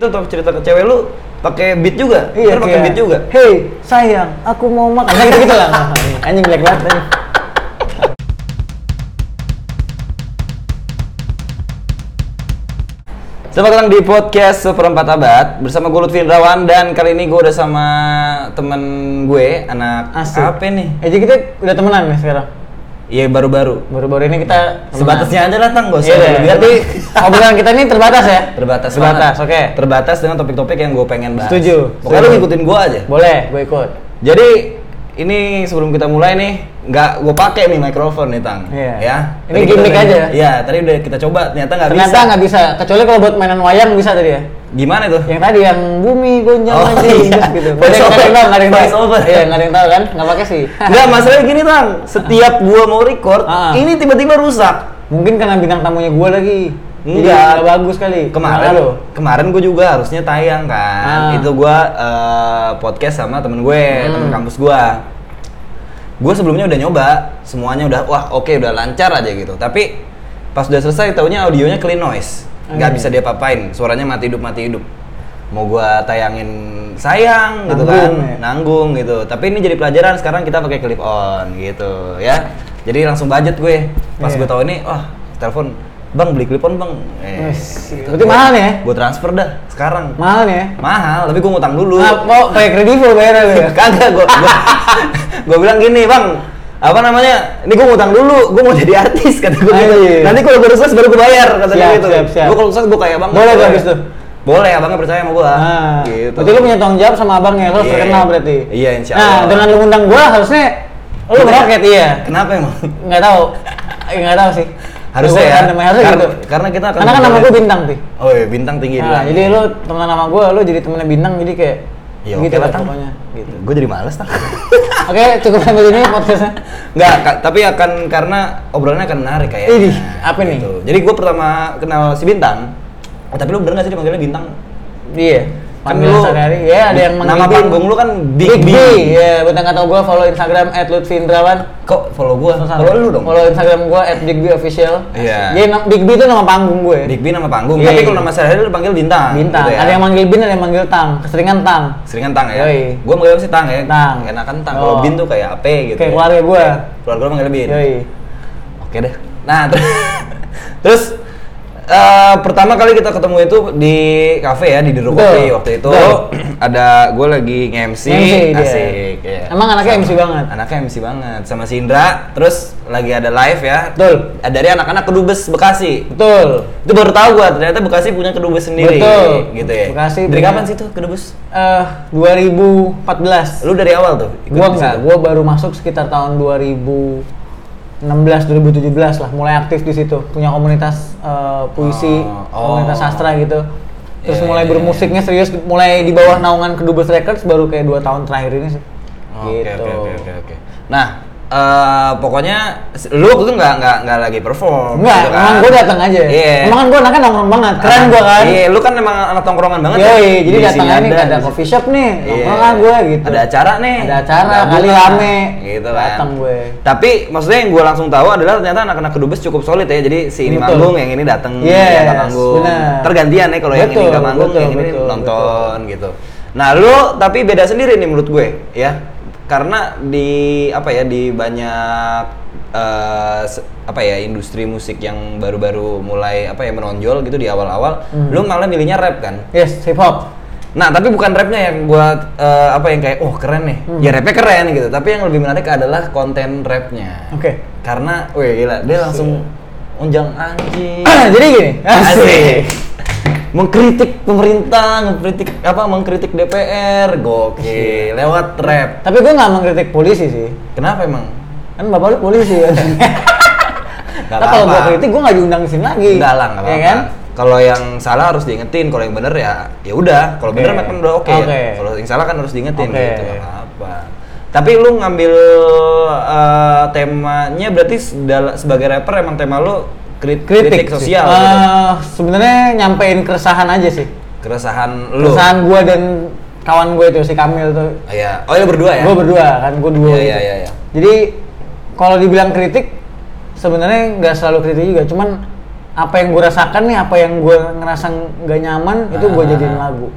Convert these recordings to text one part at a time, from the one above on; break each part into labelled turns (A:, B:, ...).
A: itu tau cerita ke cewek lu pakai beat juga
B: Iya,
A: Kan pakai
B: kayak,
A: beat juga gitu
B: Hey, sayang, aku mau makan. Kayak gitu-gitu lah. Anjing black banget. anjing.
A: selamat datang di podcast seperempat abad bersama gue Lutfi Indrawan dan kali ini gue udah sama temen gue anak
B: Asik.
A: apa nih
B: Eh, jadi kita udah temenan ya sekarang.
A: iya baru-baru
B: Baru-baru ini kita temenan.
A: sebatasnya aja lah tang gak usah
B: Iya, deh.
A: berlebihan.
B: Berarti obrolan kita ini terbatas ya?
A: terbatas
B: Terbatas,
A: banget.
B: oke.
A: terbatas dengan topik-topik yang gue pengen bahas
B: Setuju.
A: pokoknya lu
B: Setuju.
A: ngikutin gue aja
B: Boleh, gue ikut.
A: jadi ini sebelum kita mulai nih nggak gue pakai nih mikrofon nih tang
B: Iya.
A: ya
B: Ini
A: Tadi kita
B: gimmick
A: udah-
B: aja.
A: iya tadi udah kita coba ternyata nggak bisa
B: Ternyata nggak bisa. Kecuali kalau buat mainan wayang bisa tadi ya.
A: gimana tuh
B: Yang tadi yang bumi gonjang
A: Oh,
B: anjing,
A: iya.
B: terus gitu.
A: Voice
B: Nggak ada
A: over.
B: yang tahu, nggak ada yang tahu.
A: Voice over.
B: Iya, nggak ada yang tahu kan? Nggak pakai sih.
A: Enggak, masalahnya gini, Tang. Setiap gua mau record,
B: Ah.
A: ini tiba-tiba rusak.
B: Mungkin karena bintang tamunya gue lagi. Jadi
A: Enggak.
B: nggak bagus kali.
A: Kemarin
B: lo.
A: kemarin gua juga harusnya tayang kan.
B: Ah. Hmm.
A: Itu gua eh, podcast sama temen gue, temen kampus gua. Gue sebelumnya udah nyoba, semuanya udah wah oke udah lancar aja gitu. Tapi pas udah selesai taunya audionya clean noise. Nggak
B: Hmm.
A: bisa dia papain, suaranya mati hidup mati hidup. Mau gua tayangin sayang gitu kan,
B: Nanggung ya.
A: nanggung gitu. Tapi ini jadi pelajaran sekarang kita pakai clip on gitu ya. Jadi langsung budget gue. Pas
B: Iya.
A: gue tahu ini, wah telepon Bang beli clip on Bang. Eh,
B: Wes, berarti mahal nih ya?
A: Gue transfer dah sekarang.
B: Mahal nih ya?
A: Mahal, tapi gue ngutang dulu.
B: Nah, mau kayak kredivo bayarnya lu ya?
A: Kagak gue gue bilang gini, Bang. Apa namanya? Ini gue ngutang dulu, gue mau jadi artis kata gue gitu.
B: Anjir.
A: Nanti kalau gue sukses baru gue bayar kata dia
B: Ah, iya. Siap,
A: gitu.
B: siap, siap.
A: Gue kalau sukses gue kayak Bang.
B: Boleh tuh
A: gue
B: habis tuh?
A: Boleh, abangnya percaya sama gue.
B: Nah,
A: gitu.
B: berarti lu punya tanggung jawab sama abangnya, lu
A: Iya.
B: terkenal berarti.
A: Iya, insya
B: Nah,
A: Allah.
B: dengan lu undang gua harusnya lu meroket iya.
A: Kenapa emang?
B: Enggak tahu. Enggak tahu sih.
A: Harusnya
B: Gua
A: ya.
B: bukan namanya, harusnya
A: Karena-
B: gitu.
A: karena kita akan
B: Karena kan nama
A: bergerak.
B: gua bintang, Pi.
A: Oh iya, bintang tinggi
B: Nah, jadi lu teman nama gua, lu jadi temennya bintang jadi kayak
A: ya,
B: gitu
A: gitu
B: lah
A: oke
B: pokoknya gitu.
A: Gue jadi males tang.
B: Oke, cukup sampai sini podcastnya.
A: Enggak, ka- tapi akan karena obrolannya akan menarik kayak.
B: Idih, apa nih?
A: Jadi gue pertama kenal si Bintang. Oh, tapi lu bener gak sih dipanggilnya Bintang?
B: Iya.
A: Kan
B: Panggilan
A: lu-
B: sehari-hari, ya ada yang
A: nama
B: manggil Bing.
A: panggung lu kan Big
B: Big B.
A: B.
B: Iya, buat yang nggak tahu gua follow Instagram @lutfindrawan.
A: Kok follow gue? Follow lu dong.
B: Follow Instagram gue @bigbofficial.
A: Iya.
B: Jadi na- Big B itu nama panggung gue.
A: Big B nama panggung,
B: Iya,
A: tapi
B: iya.
A: kalau nama sehari-hari lu panggil Bintang.
B: Bintang.
A: gitu ya.
B: Ada yang manggil Bin, ada yang manggil Tang. Keseringan Tang.
A: seringan tang ya.
B: Yoi.
A: Gue manggil sih tang ya.
B: Tang.
A: Enakan tang.
B: Oh.
A: Kalau bin tuh kayak apa gitu.
B: Kayak
A: ya.
B: keluarga gua.
A: Kayak Keluarga lu manggil bin.
B: Yoi.
A: Oke deh. Nah, ter- terus eh, pertama kali kita ketemu itu di kafe ya di Duro
B: Betul.
A: Kopi waktu itu
B: Betul.
A: ada gue lagi nge-MC
B: MC dia.
A: asik ya.
B: Emang anaknya
A: Sama-
B: MC banget?
A: Anaknya MC banget sama si Indra terus lagi ada live ya.
B: Betul.
A: Dari anak-anak Kedubes Bekasi.
B: Betul.
A: Itu baru tahu gua ternyata Bekasi punya Kedubes sendiri
B: Betul.
A: gitu ya.
B: Bekasi
A: Dari
B: punya-
A: kapan sih tuh Kedubes?
B: Eh 2014.
A: Lu dari awal tuh? ikut
B: Gua
A: di
B: enggak,
A: situ?
B: gua baru masuk sekitar tahun 2016 2017 lah mulai aktif di situ. Punya komunitas eh, puisi,
A: Oh, oh.
B: komunitas sastra gitu. Terus
A: Iya,
B: mulai
A: iya, iya.
B: bermusiknya serius mulai di bawah naungan Kedubes Records baru kayak dua tahun terakhir ini sih.
A: Oke
B: Gitu.
A: oke oke oke, oke. Nah, eh, pokoknya s- lu waktu itu nggak nggak nggak lagi perform.
B: Enggak,
A: gitu kan?
B: emang gue datang aja.
A: Iya.
B: Emang kan gue anaknya nongkrong banget, keren
A: Anak-
B: gue kan.
A: Iya, lu kan emang anak tongkrongan banget.
B: Yoi,
A: ya?
B: jadi
A: Di
B: datang
A: sini
B: aja nih, ada
A: di-
B: coffee shop nih,
A: Iya.
B: nongkrong lah gue gitu.
A: Ada acara nih.
B: Ada acara,
A: gabung
B: kali
A: lah.
B: rame.
A: Gitu kan.
B: Datang gue.
A: Tapi maksudnya yang gue langsung tahu adalah ternyata anak-anak kedubes cukup solid ya. Jadi si ini
B: Betul.
A: manggung, yang ini datang,
B: Yes,
A: yang nggak manggung.
B: benar.
A: Tergantian ya kalau yang ini
B: Betul,
A: nggak manggung,
B: betul,
A: yang ini
B: betul,
A: nonton gitu. Nah, lu tapi beda sendiri nih menurut gue, ya. Karena di apa ya di banyak eh, se- apa ya industri musik yang baru-baru mulai apa ya menonjol gitu di awal-awal,
B: Hmm.
A: lu malah milihnya rap kan?
B: Yes, hip hop.
A: Nah, tapi bukan rapnya yang buat eh, apa yang kayak, oh keren nih.
B: Hmm.
A: Ya rapnya keren gitu, tapi yang lebih menarik adalah konten rapnya.
B: Oke.
A: Karena, wih gila, dia langsung unjang anjing.
B: jadi gini.
A: Iya. Asik. mengkritik pemerintah, mengkritik apa? Mengkritik DPR, gokil. Lewat rap.
B: Tapi gue nggak mengkritik polisi sih.
A: Kenapa emang?
B: Kan bapak lu polisi ya. Nah,
A: apa-apa.
B: kalau gue kritik gue nggak diundang di sini lagi.
A: Enggak lah, enggak
B: Iya
A: apa-apa.
B: kan?
A: Kalau yang salah harus diingetin, kalau yang bener ya ya udah. Kalau
B: Oke.
A: bener kan udah oke. ya.
B: Oke.
A: Kalau yang salah kan harus diingetin
B: Oke.
A: gitu, nggak apa-apa. Tapi lu ngambil eh, temanya berarti sedala- sebagai rapper emang tema lu kri- kritik,
B: Kritik, sih.
A: sosial
B: Eh,
A: gitu.
B: Sebenarnya nyampein keresahan aja sih.
A: Keresahan lu.
B: Keresahan gue dan kawan gue itu si Kamil tuh.
A: Oh, iya. Oh, ya berdua ya?
B: Gue berdua kan, gue
A: Iya,
B: dua. gitu.
A: iya, iya, iya.
B: Jadi kalau dibilang kritik, sebenarnya nggak selalu kritik juga, cuman apa yang gue rasakan nih apa yang gue ngerasa nggak nyaman itu gue
A: Ah.
B: jadiin lagu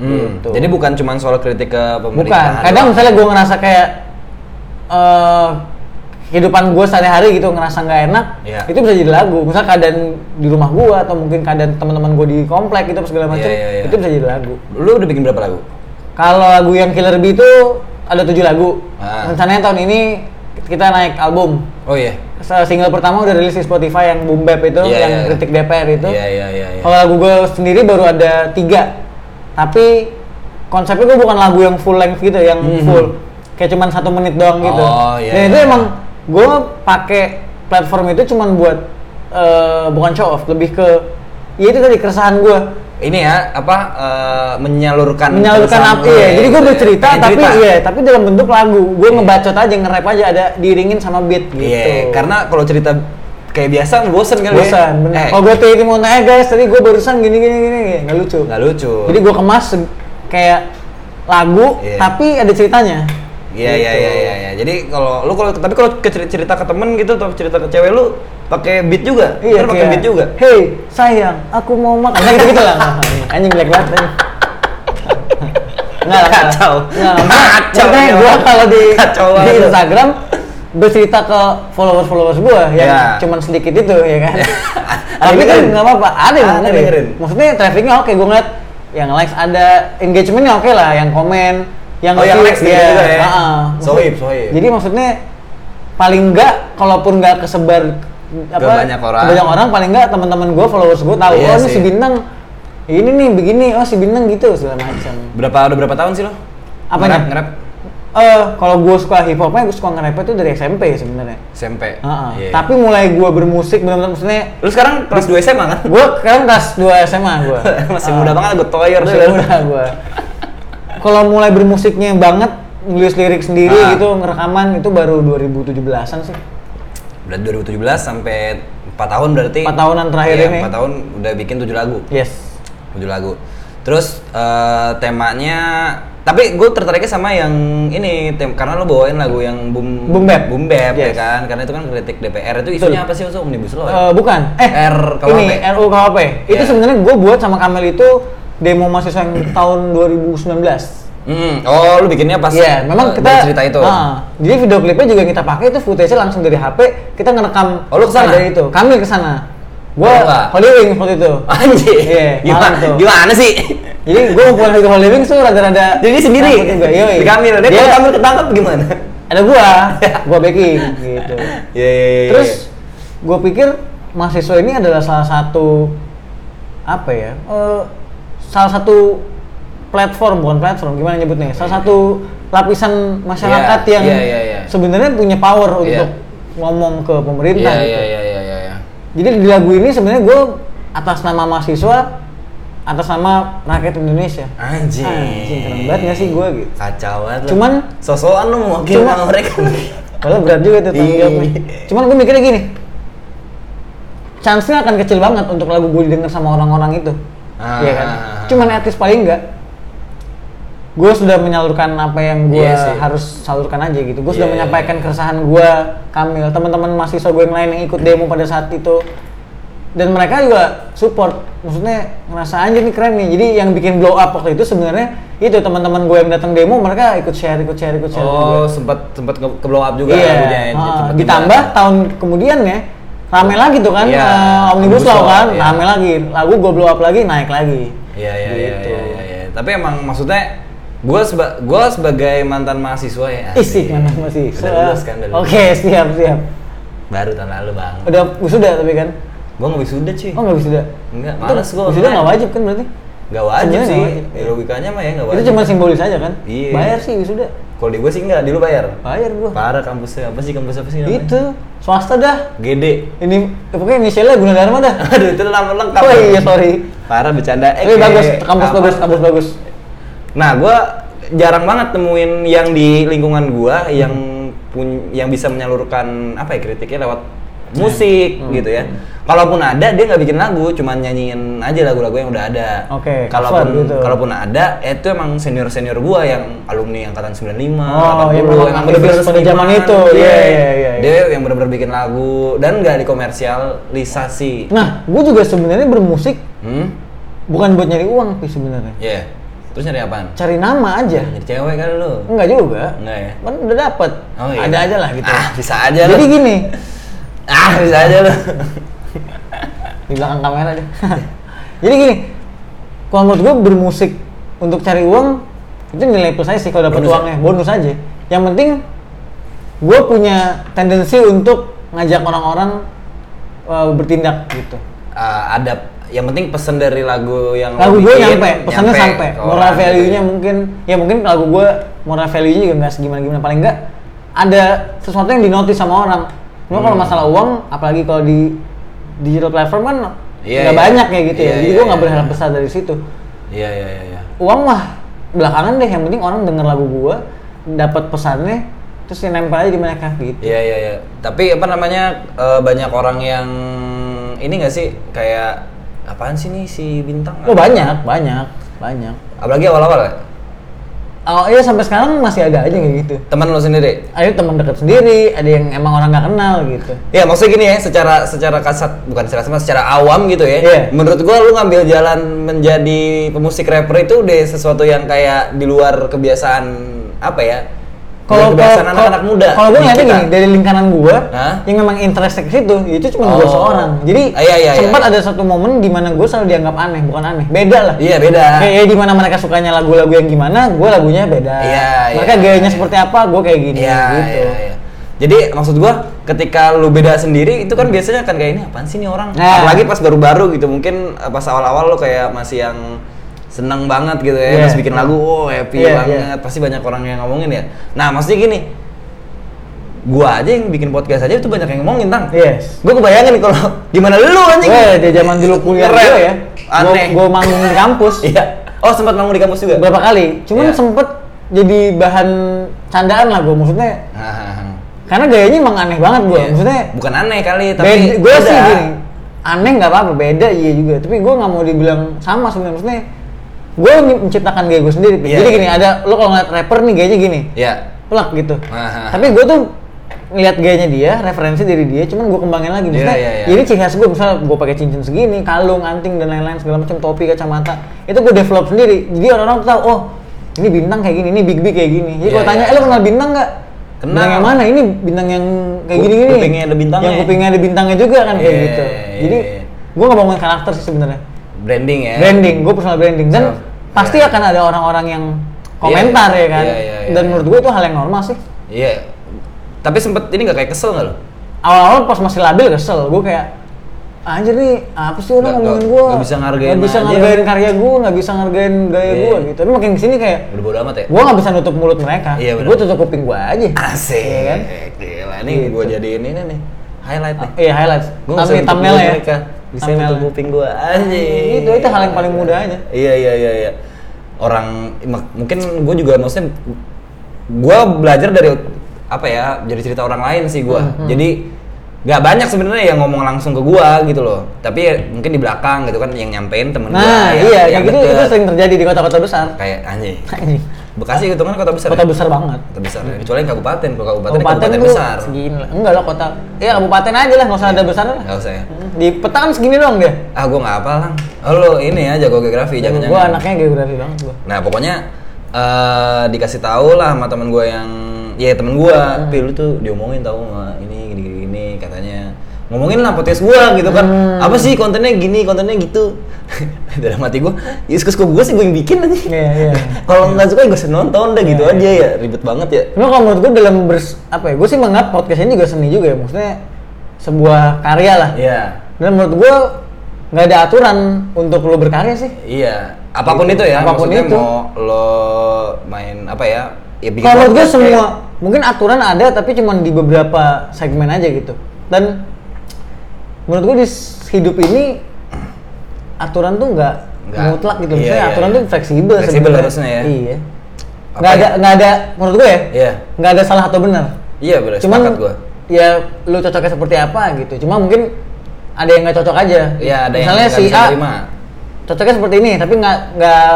A: Hmm,
B: Gitu.
A: Jadi bukan cuma soal kritik ke
B: bukan
A: pemerintahan.
B: kadang misalnya gue ngerasa kayak eh kehidupan gue sehari-hari gitu ngerasa nggak enak
A: Iya.
B: itu bisa jadi lagu misal keadaan di rumah gue atau mungkin keadaan teman-teman gue di komplek gitu segala macam
A: Iya, iya, iya.
B: itu bisa jadi lagu
A: Lu udah bikin berapa lagu?
B: kalau lagu yang Killer Bee itu ada tujuh lagu
A: Ah.
B: rencananya tahun ini kita naik album
A: Oh iya.
B: Se- single pertama udah rilis di Spotify yang Boom Bap itu
A: Iya,
B: yang
A: iya.
B: kritik DPR itu
A: Iya iya iya. iya.
B: kalau lagu gue sendiri baru ada tiga, tapi konsepnya gue bukan lagu yang full length gitu, yang
A: Mhm.
B: full kayak cuman satu menit doang gitu.
A: Oh, iya,
B: Dan itu
A: iya.
B: emang gue pakai platform itu cuman buat eh, bukan show off, lebih ke ya itu tadi keresahan gue
A: Ini ya apa eh, menyalurkan
B: menyalurkan
A: keresahan
B: apa
A: lu
B: ya. Jadi gue
A: gitu ya.
B: bercerita,
A: Pengen
B: tapi
A: cerita.
B: iya, tapi dalam bentuk lagu. Gue
A: Iya.
B: ngebacot aja, nge-rap aja ada diiringin sama beat gitu.
A: Iya, karena kalau cerita kayak biasa bosen kali
B: bosan.
A: ya.
B: bener. Oh,
A: Eh,
B: Kalau gue tadi mau nanya guys, tadi gue barusan gini gini gini nggak lucu.
A: nggak lucu.
B: Jadi gue kemas se- kayak lagu
A: Iya.
B: tapi ada ceritanya.
A: Iya iya
B: Gitu.
A: iya iya. iya. Jadi kalau lu kalau tapi kalau ke cerita, cerita ke temen gitu atau cerita ke cewek lu pakai beat juga.
B: Iya
A: Ntar pakai
B: kayak,
A: beat juga.
B: Hey sayang, aku mau makan. Nah, gitu gitu lah. Anjing black banget. anjing. Enggak lah.
A: Kacau.
B: Enggak lah.
A: Nah, Kacau. iya.
B: Makanya gue kalau di,
A: Kacau
B: di
A: banget.
B: Instagram bercerita ke followers followers gue yang
A: Iya.
B: cuman sedikit itu ya kan.
A: Ada
B: Tapi
A: yang
B: kan
A: dengerin.
B: nggak apa-apa. Ada yang
A: Ada yang
B: dengerin.
A: dengerin.
B: Maksudnya trafficnya oke. Gue ngeliat yang likes ada, engagementnya oke lah. Yang komen, yang
A: Oh, yang
B: view,
A: likes dikit juga ya.
B: Ah, ah.
A: Sohib, sohib.
B: Jadi maksudnya paling enggak kalaupun enggak kesebar
A: Ke banyak orang.
B: ke banyak orang paling enggak teman-teman gue followers gue tahu
A: Iya
B: oh ini
A: sih.
B: si bintang ini nih begini oh si bintang gitu segala macam
A: Berapa udah berapa tahun sih lu?
B: Apanya?
A: Ngerap, ngerap
B: eh kalau gue suka hip hopnya gue suka nge-rap itu dari SMP sebenarnya
A: SMP.
B: Heeh.
A: Iya.
B: tapi mulai gue bermusik benar-benar maksudnya
A: lu sekarang kelas 2 SMA kan?
B: gue sekarang kelas 2 SMA gue
A: Masih muda banget gue toyer
B: Masih
A: sih.
B: muda gue kalau mulai bermusiknya banget nulis lirik sendiri
A: Ah.
B: gitu ngerekaman itu baru 2017an sih
A: Berarti 2017 sampai 4 tahun berarti.
B: Empat tahunan terakhir
A: Iya,
B: ini.
A: empat tahun udah bikin 7 lagu.
B: yes
A: 7 lagu. Terus eh, temanya tapi gue tertariknya sama yang ini tem karena lo bawain lagu yang boom
B: Boom Bap.
A: boom Bap, ya
B: Yes.
A: kan karena itu kan kritik DPR itu
B: Betul.
A: isunya apa sih untuk omnibus law ya?
B: Eh, bukan. Eh,
A: RKUHP.
B: ini RUU KUHP. Itu
A: Iya.
B: sebenarnya gue buat sama Kamel itu demo mahasiswa yang tahun 2019.
A: Hmm, oh lu bikinnya pas
B: Iya, memang
A: eh,
B: kita
A: dari cerita itu.
B: Ah, jadi video klipnya juga yang kita pakai itu footage-nya langsung dari HP, kita ngerekam
A: Oh, lu kesana?
B: dari itu. Kamil ke sana. Gua
A: Oh, enggak.
B: Holy Wings waktu itu.
A: Anjir.
B: Iya, malam
A: gimana,
B: tuh.
A: gimana sih?
B: Jadi gue pulang dari Holy Wings tuh rada-rada
A: Jadi dia sendiri.
B: takut juga. Yoi.
A: Di Kamil, dia
B: Dia-
A: kalau Kamil ketangkep gimana?
B: ada gua, gua backing gitu.
A: Iya, iya, iya. iya.
B: Terus gue pikir mahasiswa ini adalah salah satu apa ya? eh, salah satu platform bukan platform gimana nyebutnya? Salah satu lapisan masyarakat
A: Iya,
B: yang
A: iya, iya, iya.
B: sebenarnya punya
A: Iya.
B: power untuk ngomong ke pemerintah.
A: Iya,
B: gitu.
A: iya, iya, iya, iya, iya.
B: Jadi di lagu ini sebenarnya gue atas nama mahasiswa, atas nama rakyat Indonesia.
A: Anjing.
B: Anjing, keren banget nggak sih gua gitu?
A: Kacau banget. lu.
B: Cuman-
A: sosokan lu mewakili
B: Cuman-
A: sama mereka.
B: Padahal berat juga tuh tanggung
A: Iya.
B: jawabnya. Cuman gue mikirnya gini, chance-nya akan kecil banget untuk lagu gue didengar sama orang-orang itu.
A: Ah.
B: Iya kan? Cuman at least paling enggak, gue sudah menyalurkan apa yang gue
A: Iya sih.
B: harus salurkan aja gitu. Gue sudah
A: Iya.
B: menyampaikan keresahan gue, Kamil, teman-teman mahasiswa gue yang lain yang ikut demo pada saat itu. Dan mereka juga support, maksudnya ngerasa anjir nih keren nih. Jadi yang bikin blow up waktu itu sebenarnya itu teman-teman gue yang datang demo mereka ikut share, ikut share, ikut share. juga.
A: Oh, sempat sempat ke, ke blow up juga
B: Iya.
A: lagunya, ya.
B: Ah,
A: Sempet
B: ditambah tahun kemudian ya rame lagi tuh kan
A: Iya.
B: eh, omnibus law kan
A: Iya.
B: rame lagi lagu gue blow up lagi naik lagi
A: Iya iya iya
B: Gitu.
A: iya iya, iya. Tapi emang maksudnya gue seba gue sebagai mantan mahasiswa ya.
B: Isik mana masih
A: Udah lulus kan udah lulus.
B: oke siap siap
A: Baru tahun lalu bang.
B: udah wisuda tapi kan
A: Gue nggak wisuda cuy.
B: oh nggak wisuda
A: Enggak,
B: Itu
A: males gua
B: wisuda
A: online.
B: nggak wajib kan berarti
A: Gak wajib
B: Sebenarnya
A: sih.
B: nggak wajib. Iya.
A: Di logikanya mah ya nggak wajib.
B: itu cuma simbolis aja kan
A: Iya.
B: bayar sih wisuda
A: Kalau di gue sih enggak, di lu bayar.
B: bayar gue
A: Parah kampusnya apa sih kampus apa sih namanya?
B: itu swasta dah
A: GD.
B: ini eh, pokoknya inisialnya Gunadarma dah
A: Aduh itu nama lengkap.
B: oh iya sorry
A: Parah bercanda. Eh,
B: tapi bagus kampus
A: apa?
B: bagus kampus bagus
A: Nah, gue jarang banget nemuin yang di lingkungan gue yang pun yang bisa menyalurkan apa ya kritiknya lewat musik
B: Hmm.
A: gitu ya. Kalaupun ada dia nggak bikin lagu, cuman nyanyiin aja lagu-lagu yang udah ada.
B: Oke,
A: Kalaupun
B: cover gitu.
A: kalaupun ada, eh, itu emang senior-senior gua yang alumni angkatan 95, 80,
B: Oh, yang
A: yang,
B: memang
A: bener-bener
B: aktivis pada zaman
A: seniman.
B: itu.
A: Iya,
B: Iya, iya, iya, iya.
A: Dia yang bener-bener bikin lagu dan nggak dikomersialisasi.
B: Nah, gue juga sebenarnya bermusik
A: Hmm?
B: bukan buat nyari uang sih sebenarnya.
A: Iya. Terus nyari apaan?
B: Cari nama aja.
A: Jadi cewek kan lu.
B: Enggak juga.
A: Enggak ya?
B: Kan udah dapet.
A: Oh, iya.
B: Ada aja lah gitu.
A: Ah, bisa aja lu.
B: Jadi gini,
A: Ah, bisa aja lu.
B: di belakang kamera deh. Jadi gini, kalau menurut gue bermusik untuk cari uang itu nilai plus aja sih kalau
A: Bonus
B: dapat
A: ya?
B: uangnya, bonus aja. Yang penting gue punya tendensi untuk ngajak orang-orang uh, bertindak gitu.
A: Eh, ada yang penting pesan dari lagu yang lu
B: Lagu gue
A: bikin,
B: nyampe, pesannya sampai.
A: ke
B: Moral
A: orang
B: value-nya
A: gitu ya.
B: mungkin, ya mungkin lagu gue moral value-nya juga nggak segimana-gimana. Paling nggak ada sesuatu yang dinotis sama orang. Cuma kalau
A: Hmm.
B: masalah uang, apalagi kalau di digital platform kan
A: Iya,
B: nggak
A: iya.
B: banyak ya gitu
A: Iya,
B: ya. Jadi
A: iya,
B: gue nggak
A: iya.
B: berharap besar dari situ.
A: Iya iya iya iya.
B: Uang mah belakangan deh. Yang penting orang denger lagu gue, dapat pesannya, terus yang nempel aja di mereka gitu.
A: Iya iya iya. Tapi apa namanya eh, banyak orang yang ini enggak sih kayak apaan sih nih si bintang?
B: Oh banyak, banyak, banyak.
A: Apalagi awal-awal ya?
B: Oh iya sampai sekarang masih ada aja kayak gitu.
A: Teman lu sendiri.
B: Ada teman dekat sendiri, ada yang emang orang nggak kenal gitu.
A: Ya maksudnya gini ya, secara secara kasat bukan secara sama, secara awam gitu ya.
B: Iya.
A: Menurut gua lu ngambil jalan menjadi pemusik rapper itu udah sesuatu yang kayak di luar kebiasaan apa ya? Kalau
B: kalau
A: kebiasaan
B: kalau-
A: anak-anak
B: kalau-
A: muda.
B: kalau gue
A: di
B: ngeliatnya
A: kita.
B: gini dari lingkaran gue
A: Hah?
B: yang memang interestnya ke situ itu cuma gue
A: Oh.
B: seorang jadi
A: Ah, iya, iya,
B: sempat
A: iya.
B: ada satu momen di mana gue selalu dianggap aneh bukan aneh beda lah
A: Iya beda.
B: kayak di mana mereka sukanya lagu-lagu yang gimana gue lagunya beda
A: Iya,
B: mereka
A: iya, iya.
B: gayanya seperti apa gue kayak gini
A: Iya
B: gitu
A: iya iya. Jadi maksud gua ketika lu beda sendiri itu kan biasanya kan kayak ini apaan sih nih orang?
B: Nah.
A: Apalagi pas baru-baru gitu mungkin eh, pas awal-awal lu kayak masih yang seneng banget gitu ya,
B: Iya.
A: terus bikin lagu, oh happy
B: Iya,
A: banget,
B: iya.
A: pasti banyak orang yang ngomongin ya. Nah maksudnya gini, gua aja yang bikin podcast aja itu banyak yang ngomongin tang.
B: yes
A: Gua kebayangin kalau gimana lu anjing?
B: gue di Iya. zaman dulu kuliah
A: Keren.
B: gue ya
A: Aneh.
B: gue manggung di kampus
A: Iya. Oh sempat ngomong di kampus juga.
B: berapa kali cuman
A: Iya.
B: sempet jadi bahan candaan lah gue maksudnya
A: Hahaha.
B: karena gayanya emang aneh banget gue
A: Iya.
B: maksudnya
A: bukan aneh kali
B: tapi
A: tapi
B: gue sih
A: beda.
B: gini aneh nggak apa-apa beda iya juga tapi gue nggak mau dibilang sama sebenarnya maksudnya gue menciptakan gaya gue sendiri Pi.
A: Iya,
B: jadi
A: iya.
B: gini ada lo kalau ngeliat rapper nih gayanya gini
A: Ya.
B: pelak gitu
A: Aha.
B: tapi gue tuh ngeliat gayanya dia referensi dari dia cuman gue kembangin lagi maksudnya
A: Iya, iya, iya.
B: ini ciri khas gue misal gue pakai cincin segini kalung anting dan lain-lain segala macam topi kacamata itu gue develop sendiri jadi orang-orang tuh tahu oh ini bintang kayak gini ini big big kayak gini jadi
A: Iya,
B: kalau tanya
A: iya.
B: eh lo kenal bintang nggak
A: Kenal.
B: Bintang yang mana ini bintang yang kayak
A: Ku-
B: gini gini
A: kupingnya ada bintangnya
B: yang
A: ya?
B: kupingnya ada bintangnya juga kan kayak
A: Iya,
B: gitu
A: iya, iya,
B: jadi
A: iya.
B: gue nggak bangun karakter sih sebenarnya
A: branding ya
B: branding gue personal branding dan
A: Self.
B: pasti
A: Iya.
B: akan ada orang-orang yang komentar
A: Iya,
B: ya kan
A: iya, iya, iya,
B: dan
A: iya.
B: menurut gue itu hal yang normal sih
A: iya tapi sempet ini nggak kayak kesel nggak lo
B: awal-awal pas masih labil kesel gue kayak anjir nih apa sih
A: Nggak-
B: orang ngomongin
A: nggak-
B: gue
A: nggak bisa ngargain
B: nggak bisa
A: aja."
B: ngargain karya gue nggak bisa ngargain gaya
A: Iya.
B: gue gitu tapi makin kesini kayak
A: udah bodo amat ya
B: gue nggak bisa nutup mulut mereka
A: Iya, benar. Ah.
B: gue tutup kuping gue aja
A: asik
B: Iya kan?
A: gila nih
B: Gitu.
A: gue jadiin ini nih highlight nih
B: iya highlights
A: Gua nggak
B: tapi
A: usah nutup
B: thumbnail
A: mulut
B: ya
A: mereka. bisa
B: Thumbnail-nya.
A: nutup kuping gue anjing
B: Itu- itu hal yang paling mudah aja.
A: iya iya iya iya orang mak- mungkin gue juga maksudnya gue belajar dari apa ya jadi cerita orang lain sih gue
B: Hmm, hmm.
A: jadi nggak banyak sebenarnya yang ngomong langsung ke gua gitu loh tapi ya mungkin di belakang gitu kan yang nyampein temen gua
B: nah
A: yang-
B: iya
A: yang
B: kayak gitu
A: deket.
B: itu sering terjadi di kota-kota besar
A: kayak anjing
B: Anjing,
A: Bekasi itu kan kota besar
B: kota
A: ya?
B: besar banget
A: kota besar ya. kecuali yang kabupaten kalau kabupaten, ya
B: kabupaten
A: kabupaten
B: tuh
A: besar
B: segini lah enggak lah kota ya kabupaten aja lah nggak usah ada besar lah
A: nggak usah ya
B: di peta kan segini doang dia
A: ah gua nggak apa lang oh lu ini ya jago geografi jangan
B: gue
A: jangan
B: anaknya geografi banget gue
A: nah pokoknya eh, dikasih tahu lah sama temen gua yang ya temen
B: Iya.
A: gua pil lu tuh diomongin tahu nggak ini gini gini, gini katanya ngomongin lah podcast gua gitu kan
B: Hmm.
A: apa sih kontennya gini kontennya gitu dalam hati gua ya suka gua sih gua yang bikin aja
B: Iya, iya.
A: kalau nggak suka gua usah nonton deh gitu aja ya ribet banget ya
B: Cuma kalau menurut gue dalam bers apa ya? Gue sih menganggap podcast ini juga seni juga ya, maksudnya sebuah karya lah.
A: Iya,
B: Dan menurut gue nggak ada aturan untuk lo berkarya sih.
A: iya. Apapun
B: Gitu.
A: itu ya,
B: Apapun
A: maksudnya
B: itu.
A: mau lo main apa ya? Ya bikin
B: Kalau menurut gue
A: podcast kayak-
B: semua mungkin aturan ada tapi cuma di beberapa segmen aja gitu. Dan menurut gue di s- hidup ini aturan tuh nggak
A: Nggak.
B: mutlak gitu.
A: Iya,
B: Maksudnya
A: iya,
B: aturan
A: iya.
B: tuh fleksibel.
A: Fleksibel
B: sebenarnya.
A: harusnya ya.
B: Iya.
A: Apa
B: Nggak
A: ya?
B: ada nggak ada menurut gue ya.
A: Iya.
B: Nggak ada salah atau benar.
A: Iya, benar.
B: Cuman
A: Sepakat gua.
B: ya lu cocoknya seperti apa gitu cuma mungkin ada yang nggak cocok aja
A: Ya, ada yang
B: misalnya
A: nggak
B: si
A: bisa
B: A
A: terima.
B: cocoknya seperti ini tapi nggak nggak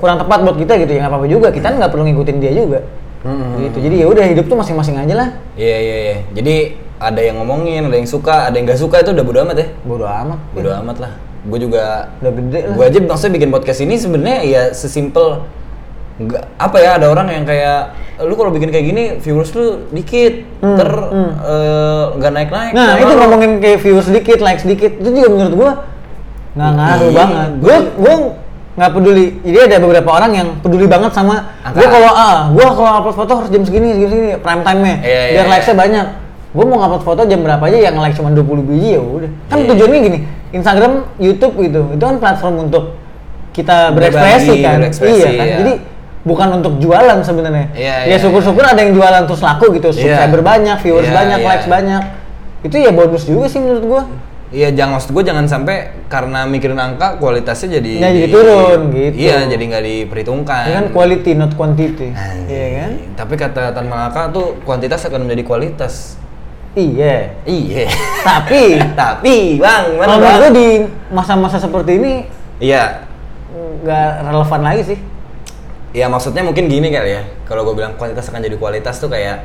B: kurang tepat buat kita gitu ya nggak apa-apa juga kita nggak perlu ngikutin dia juga
A: Hmm.
B: gitu jadi ya udah hidup tuh masing-masing aja lah
A: Iya iya iya. Jadi ada yang ngomongin, ada yang suka, ada yang gak suka itu udah bodo amat ya.
B: bodoh amat
A: Bodo amat lah. Gue juga
B: udah gede lah
A: gue aja maksudnya bikin podcast ini sebenarnya ya sesimpel nggak apa ya ada orang yang kayak lu kalau bikin kayak gini viewers lu dikit
B: Hmm,
A: ter
B: hmm.
A: eh, nggak naik naik
B: Nah, itu ngomongin kayak view sedikit, like sedikit, itu juga menurut gua nggak ngaruh
A: Iya.
B: banget. Gua gua nggak peduli. Jadi ada beberapa orang yang peduli banget sama
A: Angka.
B: gua kalau ah, gua kalau upload foto harus jam segini, jam segini prime time-nya.
A: Iya, iya,
B: biar
A: iya.
B: likes-nya banyak. Gua mau upload foto jam berapa aja yang like cuma 20 biji ya udah. Kan
A: Iya.
B: tujuannya gini, Instagram, YouTube gitu. Itu kan platform untuk kita
A: Berbagi,
B: berekspresi kan.
A: berekspresi,
B: iya kan.
A: iya.
B: Jadi bukan untuk jualan sebenarnya.
A: Iya,
B: ya
A: iya,
B: syukur-syukur ada yang jualan terus laku gitu,
A: Iya.
B: subscriber banyak, viewers
A: Iya,
B: banyak,
A: iya.
B: likes banyak itu ya bonus juga sih menurut gua
A: Iya, jangan maksud gue jangan sampai karena mikirin angka kualitasnya jadi
B: Ya, jadi turun, gitu.
A: Iya, jadi nggak diperhitungkan.
B: ya kan quality not
A: Anjing.
B: quantity iya kan
A: Tapi kata Tan Malaka tuh kuantitas akan menjadi kualitas.
B: iya
A: Iya.
B: tapi
A: Tapi, Bang, mana
B: kalau menurut gua
A: Bang?
B: di masa-masa seperti ini
A: Iya.
B: nggak relevan lagi sih
A: Ya maksudnya mungkin gini kali ya. Kalau gue bilang kualitas akan jadi kualitas tuh kayak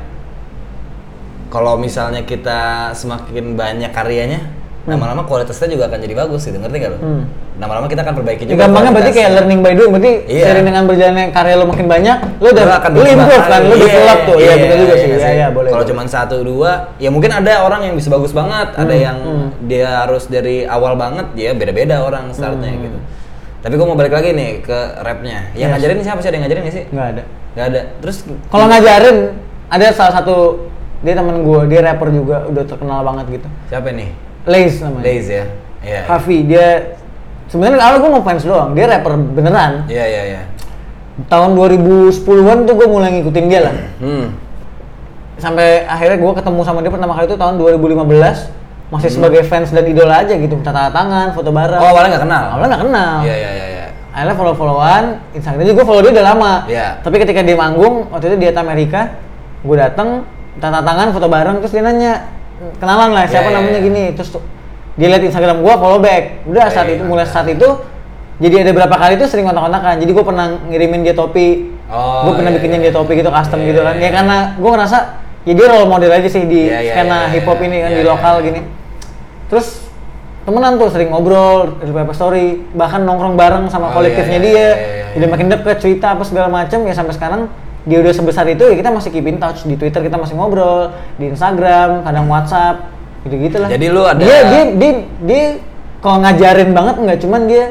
A: kalau misalnya kita semakin banyak karyanya, lama-lama kualitasnya juga akan jadi bagus gitu. Ngerti gak lo?
B: Hmm.
A: Lama-lama kita akan perbaiki
B: Ya,
A: juga.
B: gampangnya berarti kayak
A: kualitasnya.
B: learning by doing berarti
A: Iya.
B: sering dengan berjalannya karya lo makin banyak lo udah
A: Lu akan
B: lu improve
A: berkembang.
B: kan lo
A: Iya,
B: develop tuh iya betul juga sih
A: nggak
B: iya iya boleh
A: Kalau
B: boleh.
A: cuma satu dua, ya mungkin ada orang yang bisa bagus banget, ada
B: Hmm,
A: yang
B: hmm.
A: dia harus dari awal banget, ya beda-beda orang startnya
B: Hmm.
A: gitu. Tapi gue mau balik lagi nih ke rapnya. Yang
B: Yes.
A: ngajarin siapa sih? Ada yang ngajarin nggak sih?
B: nggak ada
A: Gak ada. Terus
B: kalau ngajarin ada salah satu dia temen gua dia rapper juga udah terkenal banget gitu
A: siapa nih?
B: Lace namanya
A: Days ya. Iya.
B: Hafi dia sebenarnya awal gue ngefans doang dia rapper beneran
A: Iya iya iya.
B: tahun 2010-an tuh gue mulai ngikutin dia lah
A: Hmm.
B: sampai akhirnya gue ketemu sama dia pertama kali itu tahun 2015 masih sebagai fans dan idola aja gitu minta tanda tangan foto bareng
A: Hmm. Oh, awalnya nggak kenal.
B: awalnya nggak kenal
A: Iya iya iya iya.
B: akhirnya follow followan Instagram jadi gue follow dia udah lama
A: Iya.
B: tapi ketika dia manggung waktu itu dia ke Amerika gue datang tanda tangan foto bareng terus dia nanya kenalan lah
A: Iya,
B: siapa
A: iya,
B: namanya
A: iya.
B: gini terus tuh, dia lihat Instagram gue follow back udah
A: Iya,
B: saat
A: iya,
B: itu mulai
A: iya.
B: saat itu jadi ada berapa kali tuh sering kontak-kontakan jadi gue pernah ngirimin dia topi
A: Oh,
B: gue pernah
A: iya,
B: bikinin
A: iya.
B: dia topi gitu custom
A: Iya,
B: gitu
A: iya,
B: kan ya
A: iya.
B: karena gue ngerasa ya dia role model aja sih di
A: Iya, iya,
B: skena
A: iya, iya,
B: hip hop
A: iya.
B: ini kan
A: Iya,
B: di
A: iya,
B: lokal
A: iya.
B: gini terus temenan tuh sering ngobrol di paper story bahkan nongkrong bareng sama
A: Oh, iya,
B: kolektifnya
A: iya,
B: dia
A: iya, iya, iya.
B: udah makin deket cerita apa segala macam ya sampai sekarang dia udah sebesar itu ya kita masih keep in touch di twitter kita masih ngobrol di instagram kadang whatsapp gitu gitulah
A: Jadi lu ada-
B: dia dia dia, dia kalau ngajarin banget nggak cuman dia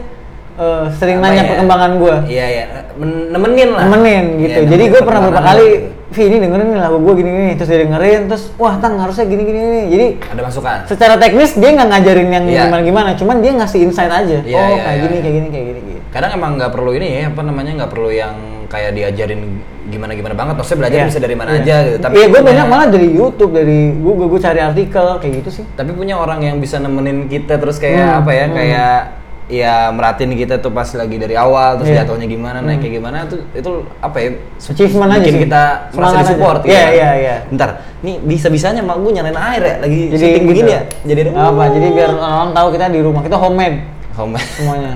B: eh, sering
A: Apa
B: nanya
A: ya?
B: perkembangan gue
A: Iya iya. Men- Nemenin lah.
B: nemenin gitu.
A: Iya,
B: Jadi
A: nemenin
B: gue pernah beberapa
A: perkembangan
B: kali,
A: gitu.
B: Vi ini dengerin nih lagu gue gini gini, terus dia dengerin, terus wah tang harusnya gini gini gini. Jadi
A: Ada masukan.
B: secara teknis dia nggak ngajarin yang
A: Iya.
B: gimana gimana, cuman dia ngasih insight aja.
A: Iya,
B: oh
A: iya,
B: kayak
A: iya,
B: gini
A: iya.
B: kayak gini kayak gini gitu.
A: kadang emang nggak perlu ini ya apa namanya nggak perlu yang kayak diajarin gimana gimana banget maksudnya belajar
B: Iya.
A: bisa dari mana
B: Iya.
A: aja gitu tapi
B: Iya gue
A: punya-
B: banyak malah dari YouTube, dari Google gue cari artikel kayak gitu sih.
A: tapi punya orang yang bisa nemenin kita terus kayak
B: Hmm,
A: apa ya
B: hmm.
A: kayak ya merhatiin kita tuh pas lagi dari awal terus
B: Iya.
A: jatuhnya gimana naik kayak gimana tuh itu apa ya
B: Achievement aja
A: bikin
B: sih.
A: kita merasa
B: Semangat
A: di support
B: aja. Iya, iya, iya.
A: bentar nih bisa bisanya mak gue nyalain air ya lagi
B: Jadi
A: syuting
B: gitu.
A: begini ya jadi ada-
B: Nggak apa? Jadi biar orang tahu kita di rumah kita homemade
A: Home-
B: semuanya.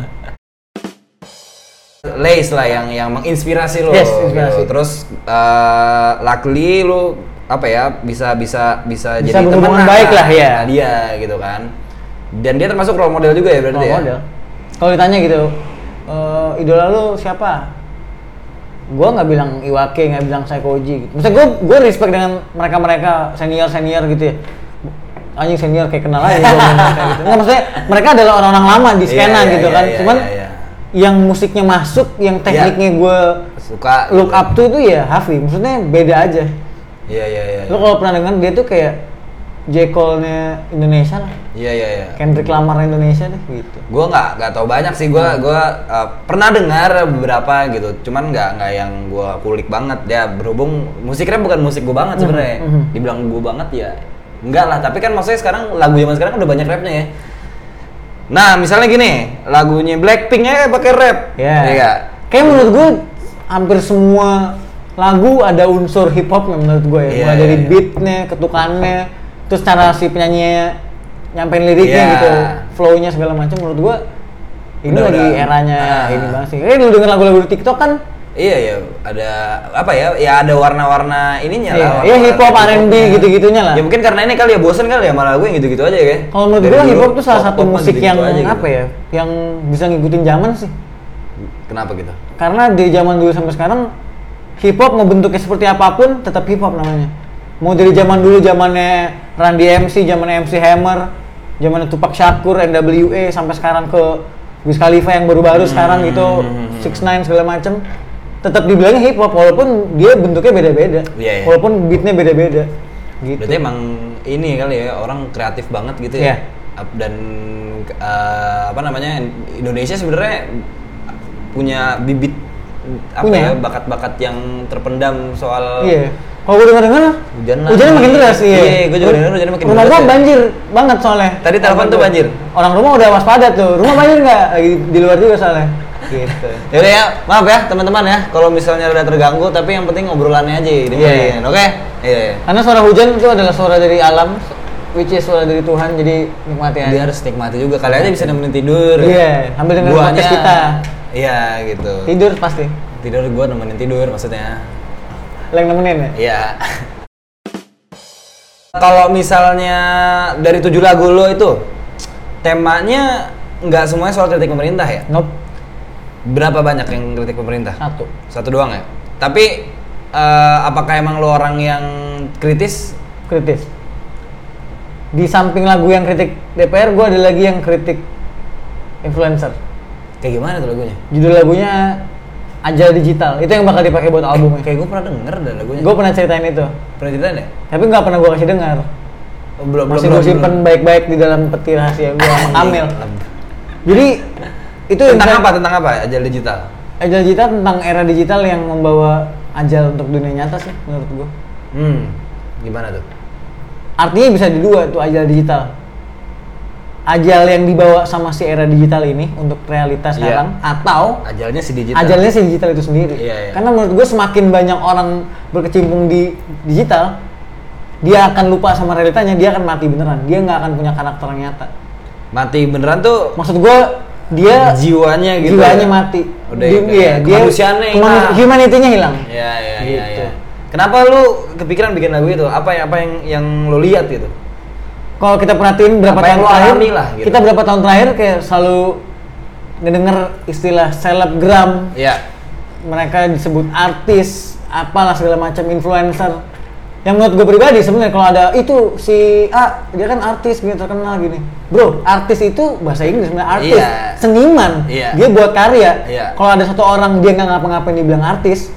A: Lace lah yang yang menginspirasi lo. gitu.
B: Yes, inspirasi.
A: Terus eh, luckily lo apa ya bisa bisa bisa,
B: Bisa
A: jadi
B: berhubungan
A: temenan
B: baik lah, ya.
A: sama Dia gitu kan. Dan dia termasuk role model juga ya berarti
B: Role
A: ya.
B: model. Kalau ditanya gitu, "Eh, idola lu siapa? Gue nggak bilang Iwake, nggak bilang Saikoji. Gitu. Maksudnya gue gue respect dengan mereka mereka senior senior gitu ya. Anjing senior kayak kenal aja. gua ngomong kayak gitu. Nggak, maksudnya mereka adalah orang-orang lama di
A: Iya,
B: skena
A: iya,
B: gitu
A: iya,
B: kan.
A: iya,
B: Cuman
A: iya, iya.
B: yang musiknya masuk, yang tekniknya gue
A: Suka.
B: look up tuh itu ya Hafi. Maksudnya beda aja.
A: Iya iya iya.
B: Lo kalau pernah dengar dia tuh kayak J. Cole-nya Indonesia lah.
A: Iya iya iya.
B: Kendrick Lamar Indonesia deh gitu.
A: Gue nggak nggak tahu banyak sih gue gua eh, pernah dengar beberapa gitu. Cuman nggak nggak yang gue kulik banget ya berhubung musiknya bukan musik gue banget sebenarnya.
B: Mhm, mhm.
A: Dibilang gue banget ya enggak lah. Tapi kan maksudnya sekarang lagu zaman sekarang udah banyak rapnya ya. Nah misalnya gini lagunya Blackpinknya pakai rap.
B: Ya.
A: Iya nggak?
B: Kayak menurut gue hampir semua lagu ada unsur hip hop menurut gue ya.
A: Iya,
B: Mulai
A: iya,
B: dari
A: iya.
B: beatnya, ketukannya, terus cara si penyanyinya nyampein liriknya
A: Iya.
B: gitu flow-nya segala macam menurut gua ini
A: Udah-
B: lagi
A: udah-
B: eranya
A: Ah.
B: ini banget sih eh lu denger lagu-lagu di TikTok kan
A: Iya ya, ada apa ya? Ya ada warna-warna ininya lah.
B: Iya, iya,
A: warna-warna
B: hip hop, R&B,
A: hip-hopnya.
B: gitu-gitunya lah.
A: Ya mungkin karena ini kali ya bosen kali ya malah gue yang gitu-gitu aja ya.
B: kalau menurut
A: Dari
B: gua
A: dulu,
B: hip hop tuh salah satu
A: pop-popan
B: musik
A: gitu-gitu
B: yang
A: aja gitu.
B: apa ya yang bisa ngikutin zaman sih
A: Kenapa gitu?
B: karena di zaman dulu sampai sekarang hip hop mau bentuknya seperti apapun tetap hip hop namanya mau dari zaman dulu zamannya Randy MC zaman MC Hammer zaman Tupac Shakur NWA sampai sekarang ke Wiz Khalifa yang baru-baru sekarang itu
A: hmm,
B: 69 segala macem tetap dibilangnya hip hop walaupun dia bentuknya beda-beda
A: Iya, iya.
B: walaupun beatnya beda-beda gitu
A: Berarti emang ini kali ya orang kreatif banget gitu
B: Iya.
A: ya. Ap- Dan eh, apa namanya Indonesia sebenarnya punya bibit apa ya
B: Punya.
A: bakat-bakat yang terpendam soal
B: Iya. Kalau gue denger dengar
A: Hujan lagi.
B: hujannya makin deras, iya.
A: Iya, gua juga denger hujannya makin
B: rumah
A: deras
B: Rumah
A: ya.
B: gua banjir banget soalnya.
A: Tadi telepon
B: Orang
A: tuh
B: gua-
A: banjir?
B: Orang rumah udah waspada tuh. Rumah banjir nggak? Lagi di luar juga soalnya. Gitu.
A: Yaudah ya, maaf ya teman-teman ya kalau misalnya ada terganggu tapi yang penting obrolannya aja ya, dengerin,
B: Iya.
A: oke? Iya. iya.
B: Karena suara hujan itu adalah suara dari alam, which is suara dari Tuhan, jadi nikmati aja.
A: Dia harus nikmati juga, kali aja bisa nemenin tidur.
B: Iya, ambil dengerin
A: Guanya-
B: podcast kita.
A: Iya, gitu.
B: Tidur pasti.
A: Tidur gua nemenin tidur maksudnya.
B: Lo yang nemenin ya?
A: Iya. Kalau misalnya dari tujuh lagu lo itu temanya nggak semuanya soal kritik pemerintah ya?
B: Nope.
A: Berapa banyak yang kritik pemerintah?
B: Satu.
A: Satu doang ya. Tapi eh, apakah emang lo orang yang kritis?
B: kritis di samping lagu yang kritik DPR gue ada lagi yang kritik influencer
A: Kayak gimana tuh lagunya?
B: judul lagunya Ajal Digital itu yang bakal dipakai buat albumnya
A: Kayak gue pernah denger dan lagunya.
B: gue pernah ceritain itu
A: pernah ceritain ya?
B: tapi nggak pernah gue kasih dengar
A: Oh, belum
B: masih gue simpen baik-baik di dalam peti rahasia gue sama Kamil jadi itu
A: Itu tentang
B: influen-
A: apa? Tentang apa? Ajal digital.
B: Ajal Digital tentang era digital yang membawa ajal untuk dunia nyata sih menurut gue
A: Hmm. Gimana tuh?
B: artinya bisa di dua tuh ajal digital ajal yang dibawa sama si era digital ini untuk
A: Iya.
B: realitas sekarang atau
A: Ajalnya si digital.
B: ajalnya si digital itu sendiri
A: Iya, iya.
B: karena menurut gue semakin banyak orang berkecimpung di digital dia akan lupa sama realitanya dia akan mati beneran dia nggak akan punya karakter yang nyata
A: mati beneran tuh
B: maksud gue dia
A: jiwanya gitu.
B: Iya. jiwanya
A: ya?
B: mati
A: Udah
B: Di-
A: ya,
B: iya, dia
A: kemanusiaannya
B: kemanu-
A: hilang.
B: humanity-nya hilang
A: Iya iya iya.
B: Gitu.
A: Ya. Kenapa lu kepikiran bikin lagu itu? Apa yang apa yang yang lu lihat gitu?
B: kalau kita perhatiin berapa
A: Apa yang
B: tahun
A: lo
B: terakhir
A: alami lah, gitu.
B: kita berapa tahun terakhir kayak selalu ngedenger istilah selebgram
A: Iya.
B: mereka disebut artis apalah segala macam influencer yang menurut gue pribadi sebenarnya kalau ada itu si A dia kan artis gini terkenal gini bro artis itu bahasa Inggris sebenarnya artis
A: Iya.
B: seniman
A: Iya.
B: dia buat karya
A: Iya.
B: kalau ada satu orang dia nggak ngapa-ngapain dibilang artis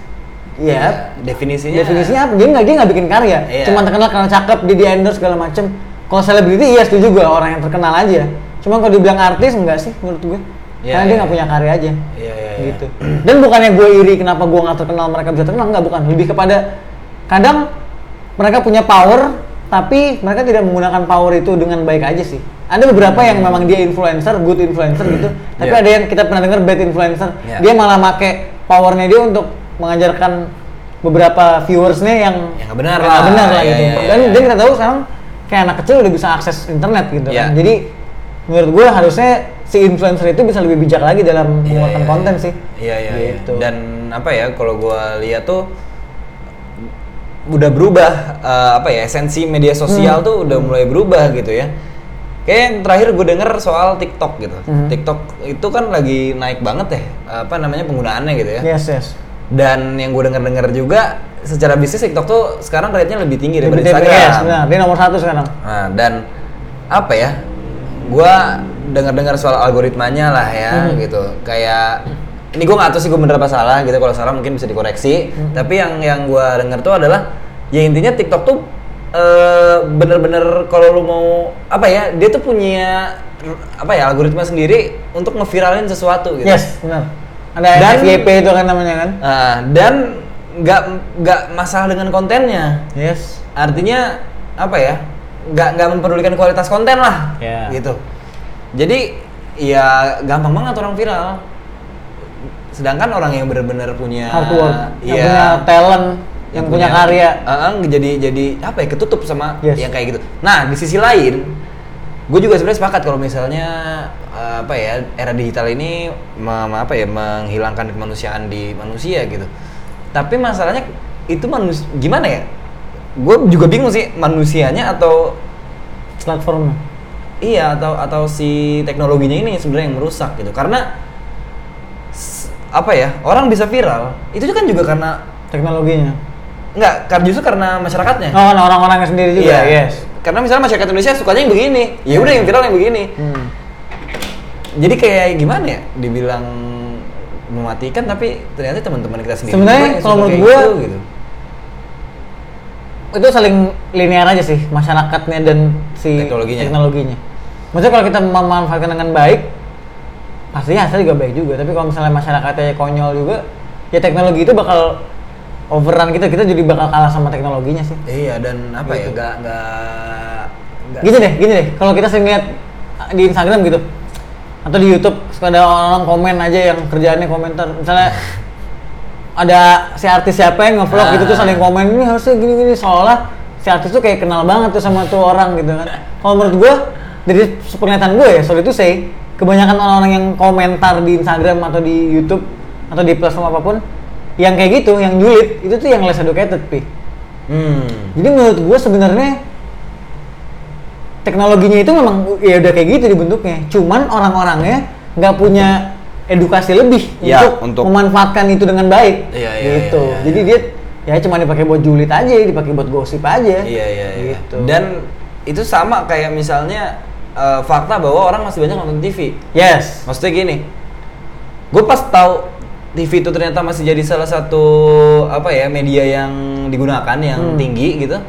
B: ya
A: Iya. Definisinya.
B: definisinya apa? Dia nggak dia nggak bikin karya,
A: Iya.
B: cuma terkenal karena cakep, dia di endorse segala macem. Kalau selebriti iya setuju gue orang yang terkenal aja. Cuma kalau dibilang artis enggak sih menurut gue,
A: Iya,
B: karena dia
A: iya.
B: nggak punya karya aja.
A: Iya iya. iya.
B: Gitu. Dan bukannya gue iri kenapa gue nggak terkenal mereka bisa terkenal nggak bukan. Lebih kepada kadang mereka punya power tapi mereka tidak menggunakan power itu dengan baik aja sih. Ada beberapa yang
A: Hmm.
B: memang dia influencer, good influencer gitu. Tapi
A: Iya.
B: ada yang kita pernah dengar bad influencer.
A: Iya.
B: Dia malah make powernya dia untuk mengajarkan beberapa viewersnya yang
A: Yang nggak benar
B: yang
A: lah.
B: nggak benar lah
A: Iya,
B: gitu.
A: iya, iya,
B: dan
A: iya.
B: dan kita tahu sekarang kayak anak kecil udah bisa akses internet gitu kan.
A: Iya.
B: Jadi menurut gue harusnya si influencer itu bisa lebih bijak lagi dalam
A: Iya,
B: mengeluarkan
A: iya,
B: konten
A: iya.
B: sih.
A: Iya iya. iya.
B: Gitu.
A: Dan apa ya kalau gua lihat tuh udah berubah eh, apa ya esensi media sosial
B: Hmm.
A: tuh udah mulai berubah gitu ya. Kayak yang terakhir gue denger soal TikTok gitu.
B: Hmm.
A: TikTok itu kan lagi naik banget ya apa namanya penggunaannya gitu ya.
B: Yes, yes.
A: Dan yang gue denger-denger juga secara bisnis TikTok tuh sekarang rate-nya lebih tinggi
B: Lebih
A: daripada
B: dari-
A: Instagram.
B: yes, benar. Dia nomor satu sekarang.
A: Nah, dan apa ya? Gua dengar-dengar soal algoritmanya lah ya
B: Hmm.
A: gitu. Kayak ini gue nggak tahu sih gue bener apa salah gitu. Kalau salah mungkin bisa dikoreksi.
B: Hmm.
A: Tapi yang yang gua dengar tuh adalah ya intinya TikTok tuh eh, bener-bener kalau lu mau apa ya? Dia tuh punya apa ya algoritma sendiri untuk ngeviralin sesuatu gitu.
B: Yes, benar. Ada
A: Dan-
B: FYP itu kan namanya kan?
A: Nah, dan nggak nggak masalah dengan kontennya
B: Yes.
A: artinya apa ya nggak nggak memperdulikan kualitas konten lah
B: Ya.
A: gitu jadi ya gampang banget orang viral sedangkan orang yang benar-benar punya
B: Hard work. Yang
A: Ya, iya
B: punya talent Yang punya karya.
A: Eh, eh, jadi jadi apa ya ketutup sama
B: Yes.
A: yang kayak gitu nah di sisi lain gue juga sebenarnya sepakat kalau misalnya eh, apa ya era digital ini me- me- apa ya menghilangkan kemanusiaan di manusia gitu tapi masalahnya itu manus gimana ya gue juga bingung sih manusianya atau
B: platformnya.
A: Iya atau atau si teknologinya ini sebenarnya yang merusak gitu karena s- apa ya orang bisa viral itu kan juga karena
B: Teknologinya.
A: nggak karena justru karena masyarakatnya.
B: Oh, kan orang-orangnya sendiri
A: Iya.
B: juga, yes.
A: Karena misalnya masyarakat Indonesia sukanya yang begini, ya udah yang viral yang begini.
B: Hmm.
A: Jadi kayak gimana ya? Dibilang mematikan tapi ternyata teman-teman kita sendiri.
B: Sebenarnya
A: juga yang
B: kalau
A: suka
B: menurut
A: kayak
B: gua-
A: gitu, gitu.
B: itu saling linear aja sih masyarakatnya dan si
A: Teknologinya.
B: teknologinya. Maksudnya kalau kita memanfaatkan dengan baik, pastinya hasilnya juga baik juga. Tapi kalau misalnya masyarakatnya konyol juga, ya teknologi itu bakal overrun kita, kita jadi bakal kalah sama teknologinya sih.
A: Iya dan apa ya?
B: Gitu.
A: Nggak nggak nggak-
B: Gini deh, gini deh. Kalau kita sering lihat di Instagram gitu, atau di YouTube, suka ada orang komen aja yang kerjaannya komentar. Misalnya ada si artis siapa yang ngevlog gitu tuh saling komen ini harusnya gini gini seolah si artis tuh kayak kenal banget tuh sama tuh orang gitu kan. Kalau menurut gua dari penglihatan gue ya, sorry itu say, kebanyakan orang-orang yang komentar di Instagram atau di YouTube atau di platform apapun yang kayak gitu, yang julid, itu tuh yang less educated, Pi.
A: Hmm.
B: Jadi menurut gue sebenarnya teknologinya itu memang ya udah kayak gitu dibentuknya. Cuman orang-orangnya nggak punya edukasi lebih
A: Ya,
B: untuk,
A: untuk-
B: memanfaatkan itu dengan baik.
A: Iya, iya,
B: gitu.
A: iya, iya,
B: Jadi dia ya cuma dipakai buat julid aja, dipakai buat gosip
A: Iya
B: aja.
A: iya iya.
B: Gitu.
A: Dan itu sama kayak misalnya eh, fakta bahwa orang masih banyak nonton TV.
B: yes.
A: Maksudnya gini, gue pas tahu TV itu ternyata masih jadi salah satu apa ya media yang digunakan yang
B: Hmm.
A: tinggi gitu,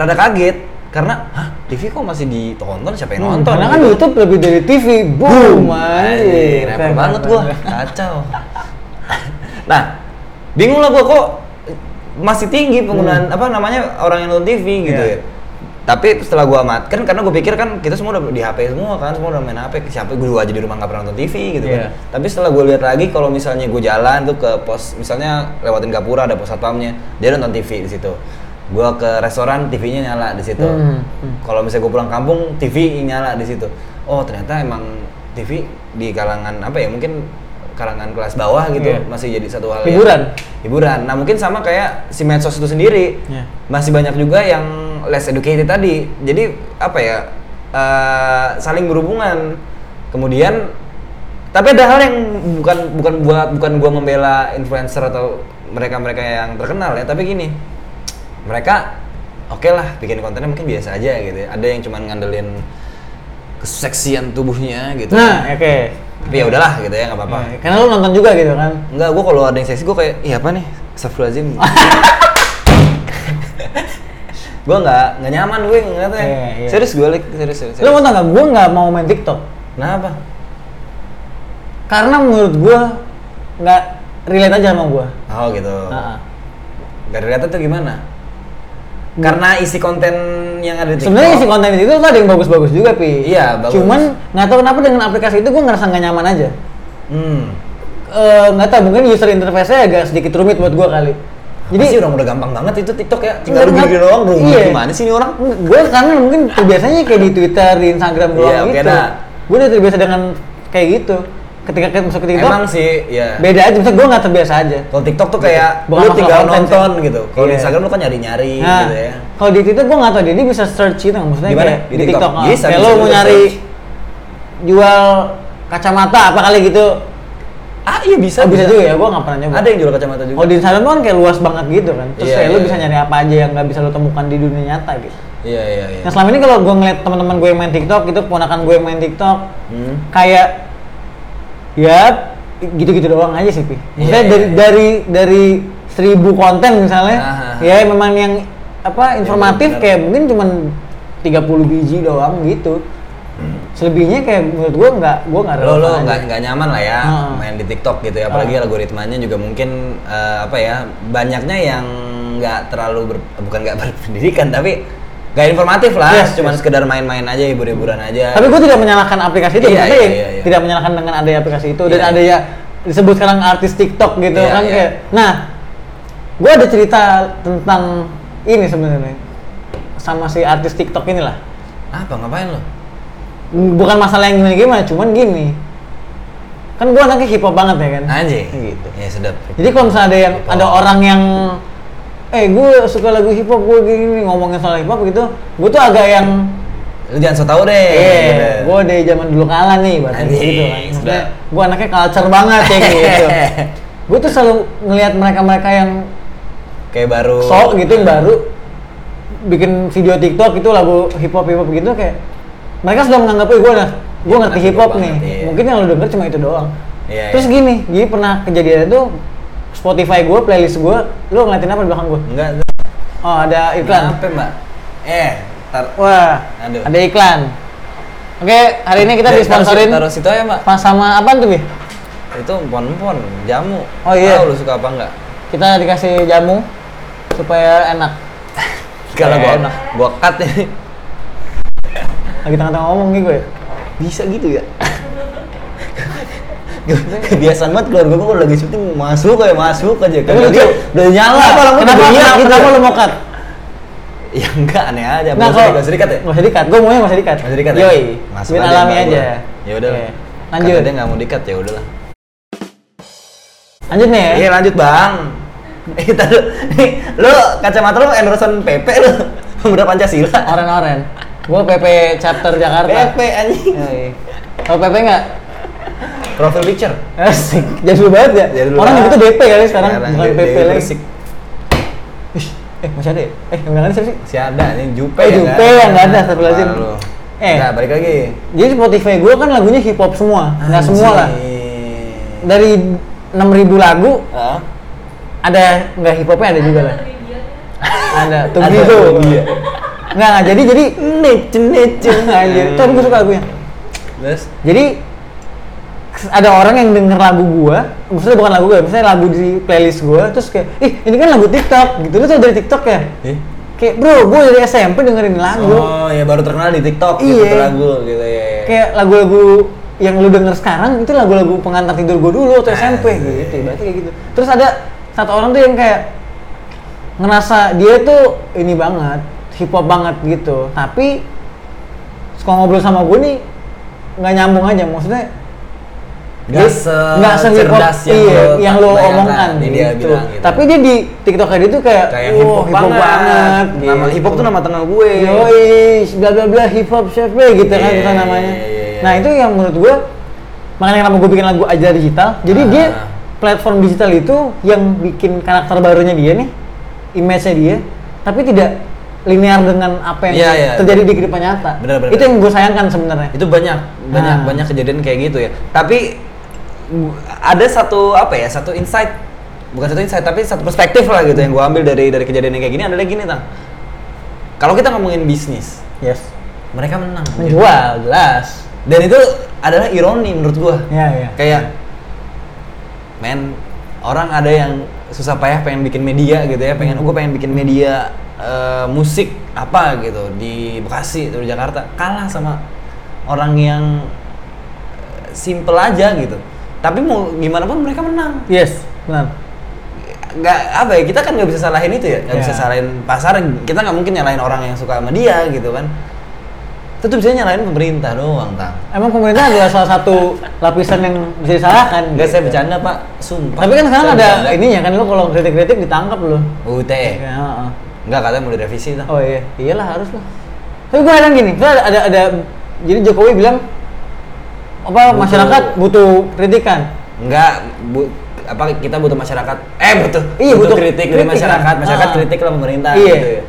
A: rada kaget karena hah TV kok masih ditonton siapa yang
B: Hmm,
A: nonton?
B: karena kan
A: gitu.
B: YouTube lebih dari TV. Boom. anjir.
A: Anjir,
B: Keren
A: repot Iya, banget gua. Kacau. nah, bingung lah gua kok masih tinggi penggunaan apa namanya orang yang nonton TV gitu
B: Hmm. Iya.
A: ya. Tapi setelah gua amatkan karena gua pikir kan kita semua udah di HP semua kan, semua udah main HP. Siapa gua aja di rumah nggak pernah nonton TV gitu
B: Iya.
A: kan. Tapi setelah gua lihat lagi kalau misalnya gua jalan tuh ke pos misalnya lewatin Gapura ada pos satpamnya, dia nonton TV di situ. Gua ke restoran TV-nya nyala di situ.
B: Hmm, hmm.
A: Kalau misalnya gue pulang kampung, TV nyala di situ. Oh ternyata emang TV di kalangan apa ya? Mungkin kalangan kelas bawah gitu
B: Iya.
A: masih jadi satu hal
B: Hiburan.
A: Yang, hiburan. Nah mungkin sama kayak si medsos itu sendiri
B: Iya.
A: masih banyak juga yang less educated tadi. Jadi apa ya? eh, saling berhubungan. Kemudian tapi ada hal yang bukan bukan buat bukan gua membela influencer atau mereka-mereka yang terkenal ya, tapi gini mereka oke lah bikin kontennya mungkin biasa aja gitu ya. ada yang cuman ngandelin keseksian tubuhnya gitu
B: Nah, oke.
A: tapi ya udahlah gitu ya nggak apa-apa
B: Ya, Karena lu nonton juga gitu kan.
A: enggak gue kalau ada yang seksi gue kayak iya apa nih Astagfirullahaladzim gue nggak nggak nyaman gue ngeliatnya
B: Iya, iya.
A: serius gue like serius serius,
B: Lu
A: serius.
B: mau tau gak? Gue nggak mau main TikTok.
A: kenapa
B: Karena menurut gue nggak relate aja sama gue.
A: oh gitu
B: Heeh.
A: nggak kelihatan tuh gimana karena isi konten yang ada di
B: Hmm. Sebenarnya
A: TikTok-
B: isi konten itu tuh ada yang bagus-bagus juga, Pi.
A: Iya, bagus.
B: Cuman nggak tahu kenapa dengan aplikasi itu gue ngerasa nggak nyaman aja.
A: hmm.
B: Eh, Nggak tahu mungkin user interface-nya agak sedikit rumit buat gue kali.
A: jadi
B: Jadi
A: orang udah gampang banget itu TikTok ya tinggal
B: Enggak,
A: lu gini
B: enggak.
A: doang bro
B: Iya.
A: gimana sih ini orang
B: gue karena mungkin biasanya kayak di Twitter, di Instagram doang
A: Iya, oke
B: gitu.
A: dah.
B: Gue udah terbiasa dengan kayak gitu. Ketika kita masuk ke TikTok,
A: Emang sih, ya.
B: beda aja. Maksudnya gue nggak terbiasa aja.
A: Kalau TikTok tuh kayak
B: Iya. Bukan
A: lu
B: masalah
A: tinggal
B: konten
A: nonton
B: sih.
A: gitu. Kalau di
B: Iya.
A: Instagram lu kan nyari-nyari
B: Nah,
A: gitu ya.
B: kalau di Twitter gue nggak tau dia, dia bisa search gitu maksudnya
A: Di mana?
B: kayak
A: Di
B: di,
A: TikTok?
B: TikTok. ah.
A: Bisa,
B: kayak
A: bisa
B: lo
A: juga
B: mau nyari
A: search.
B: jual kacamata apa kali gitu.
A: Ah iya bisa.
B: oh, bisa juga ya, gue nggak pernah nyoba.
A: Ada yang jual kacamata juga.
B: Kalau di Instagram tuh kan kayak luas banget gitu kan. Terus
A: Iya,
B: kayak lo
A: iya,
B: bisa
A: iya.
B: nyari apa aja yang nggak bisa lo temukan di dunia nyata gitu.
A: Iya iya iya.
B: Nah selama ini kalau gue ngeliat teman-teman gue yang main TikTok gitu, ponakan gue yang main TikTok,
A: Hmm.
B: kayak ya gitu-gitu doang aja sih, Pi. Maksudnya
A: Iya,
B: dari,
A: iya.
B: dari dari seribu konten misalnya,
A: Aha. Iya,
B: ya memang yang apa informatif
A: benar.
B: kayak mungkin cuman 30 biji doang gitu. Selebihnya kayak menurut gue nggak gue nggak
A: Lo lo
B: relevan aja.
A: nggak nggak nyaman lah ya
B: Heeh.
A: main di TikTok gitu ya. Apalagi
B: Heeh.
A: algoritmanya juga mungkin eh, apa ya banyaknya yang nggak terlalu ber- bukan nggak berpendidikan tapi nggak informatif lah.
B: Yes,
A: Cuman
B: yes.
A: sekedar main-main aja hibur-hiburan aja.
B: Tapi gue tidak menyalahkan aplikasi itu,
A: Iya,
B: maksudnya
A: iya,
B: ya
A: iya, iya.
B: tidak menyalahkan dengan adanya aplikasi itu dan
A: Iya.
B: adanya disebut sekarang artis TikTok gitu
A: Iya,
B: kan
A: iya.
B: kayak. Nah, Gue ada cerita tentang ini sebenarnya sama si artis TikTok inilah.
A: Apa ngapain lo?
B: Bukan masalah yang gimana-gimana, cuman gini. Kan gue anaknya hip hop banget ya kan.
A: Anjing.
B: Gitu.
A: Ya sedap.
B: Jadi kalau misalnya ada yang
A: Hip hop.
B: ada orang yang eh gue suka lagu hip hop gue gini ngomongin soal hip hop gitu, gue tuh agak yang
A: Lu jangan so tau deh. Gitu.
B: Eh, gue dari zaman dulu kalah nih,
A: Iya,
B: berarti
A: Anjing,
B: gitu kan. Maksudnya,
A: sudah.
B: gue anaknya culture banget ya gitu. gue tuh selalu ngelihat mereka-mereka yang
A: Kayak baru.
B: sok gitu
A: iya.
B: yang baru bikin video TikTok itu lagu hip hop hip hop gitu kayak mereka sudah menganggap gue nah gue ngerti
A: anak
B: hip hop
A: dulu
B: nih.
A: banget, iya.
B: Mungkin yang lo denger cuma itu doang.
A: Iya,
B: Terus
A: iya.
B: gini, jadi pernah kejadian itu Spotify gue, playlist gue, lu ngeliatin apa di belakang gue?
A: Enggak.
B: Oh ada iklan.
A: Kenapa mbak? Eh, tar.
B: Wah,
A: Aduh.
B: ada iklan. Oke, hari ini kita
A: Dari-
B: disponsorin
A: Taruh, taruh situ aja mbak.
B: pas sama apa tuh, Bi?
A: Itu empon-empon, jamu.
B: Oh, iya.
A: Tahu lu suka apa enggak?
B: Kita dikasih jamu supaya enak.
A: Kalau
B: Eh,
A: gua
B: enak.
A: gua cut ini.
B: Lagi tengah-tengah ngomong nih gue. ya.
A: Bisa gitu ya? kebiasaan banget keluarga gue kalau lagi syuting masuk aja masuk aja kan
B: Tapi lucu.
A: udah nyala
B: Kenapa,
A: orang
B: kenapa,
A: udah
B: kenapa,
A: nyala gitu
B: kenapa lu mau cut?
A: ya enggak aneh aja nggak usah
B: Nah,
A: di-
B: kalau-
A: nggak usah dikat ya
B: Nggak usah dikat. Gue maunya nggak usah dikat.
A: nggak usah dikat ya
B: Yoi.
A: Masuk
B: Biar alami
A: mbak
B: aja.
A: gua. ya udah
B: Oke.
A: lah.
B: Lanjut.
A: Kata dia nggak mau dikat ya udahlah
B: Lanjut nih ya.
A: iya lanjut bang eh taruh nih lu kacamata lu Anderson PP lu pemuda Pancasila
B: Oren-oren. Gue PP chapter Jakarta.
A: PP anjing
B: Yoi. Kalau PP nggak?
A: profil picture
B: Asik. Jadul banget ya.
A: Jadul
B: Orang
A: banget.
B: itu DP kali sekarang. Bukan
A: Dewi-
B: PP
A: Dewi
B: lagi.
A: Persik.
B: Ish, Eh, masih ada ya? Eh, yang bilang siapa sih?
A: si ada nih Jupe
B: Eh,
A: ya
B: Jupe
A: kan?
B: yang nggak ada, satu lagi.
A: Parah lu.
B: Eh.
A: nah balik lagi
B: Jadi Spotify gue kan lagunya hip hop semua, nggak semua lah.
A: Anjing.
B: Dari 6000 lagu
A: Hah?
B: ada nggak hip hopnya ada juga lah. Ada tuh
A: Ada
B: gitu.
A: tuh dia.
B: Nggak nggak, jadi jadi nece nece anjir.
A: Hmm.
B: Tapi gue gitu. Kan suka lagunya.
A: Terus?
B: Jadi kes- ada orang yang denger lagu gua, maksudnya bukan lagu gua, maksudnya lagu di playlist gua terus kayak, "Ih, ini kan lagu TikTok." Gitu. Lu tau dari TikTok ya?
A: Eh?
B: Kayak, "Bro, gua dari SMP dengerin lagu."
A: Oh ya baru terkenal di TikTok gitu
B: Iya.
A: tuh lagu gitu ya. ya.
B: kayak lagu-lagu yang lu denger sekarang itu lagu-lagu pengantar tidur gue dulu atau SMP
A: Anjir.
B: gitu berarti kayak gitu terus ada satu orang tuh yang kayak ngerasa dia tuh ini banget hip hop banget gitu tapi kalau ngobrol sama gue nih nggak nyambung aja maksudnya
A: Nggak
B: dia-
A: se-
B: nggak se-hip hop,
A: cerdas yang
B: iya,
A: lo
B: yang lo
A: bayangkan,
B: omongkan
A: yang
B: gitu.
A: dia bilang gitu.
B: tapi dia di TikTok dia tuh kayak,
A: kayak
B: "Wah,
A: hip hop banget. Nama
B: gitu.
A: hip hop tuh nama tengah gue.
B: Yoi, bla bla bla hip hop siapa gitu kan
A: Iya,
B: kita
A: iya,
B: namanya.
A: iya, iya.
B: Nah itu yang menurut gua makanya kenapa gua bikin lagu ajar digital. Jadi dia
A: Ah.
B: platform digital itu yang bikin karakter barunya dia nih, image-nya dia, tapi tidak linear dengan apa yang
A: Iya, iya.
B: terjadi di kehidupan nyata.
A: Benar, benar,
B: itu
A: benar.
B: yang gue sayangkan sebenarnya.
A: Itu banyak banyak
B: Nah.
A: banyak kejadian kayak gitu ya. Tapi bu- ada satu apa ya? Satu insight bukan satu insight tapi satu perspektif lah gitu yang gue ambil dari dari kejadian yang kayak gini adalah gini tang kalau kita ngomongin bisnis
B: Yes.
A: mereka menang gitu.
B: Menjual jelas.
A: dan itu adalah ironi menurut gue
B: Ya ya.
A: kayak men orang ada yang susah payah pengen bikin media gitu ya pengen gue pengen bikin media eh, musik apa gitu di Bekasi atau di Jakarta kalah sama orang yang eh, simple aja gitu tapi mau gimana pun mereka menang
B: Yes, benar.
A: nggak apa ya kita kan nggak bisa salahin itu ya nggak
B: Ya.
A: bisa salahin pasar kita nggak mungkin nyalahin orang yang suka sama dia gitu kan itu tuh bisa nyalahin pemerintah doang tang
B: Emang pemerintah adalah salah satu lapisan yang bisa disalahkan.
A: nggak saya
B: gitu.
A: bercanda pak sumpah
B: Tapi kan sekarang
A: Saya
B: ada
A: bercanda. Eh.
B: ininya kan lo kalau kritik-kritik ditangkap lo.
A: UTE
B: Ya, heeh.
A: Enggak katanya mau direvisi tuh.
B: oh iya, iyalah harus lah. Tapi gue heran gini, misalnya ada ada jadi Jokowi bilang apa
A: Butuh-
B: masyarakat butuh kritikan.
A: Enggak bu, apa kita butuh masyarakat eh butuh
B: Iya, butuh
A: kritik, dari
B: kritik,
A: masyarakat
B: kan?
A: masyarakat
B: Ah.
A: kritik lah pemerintah
B: Iya.
A: gitu ya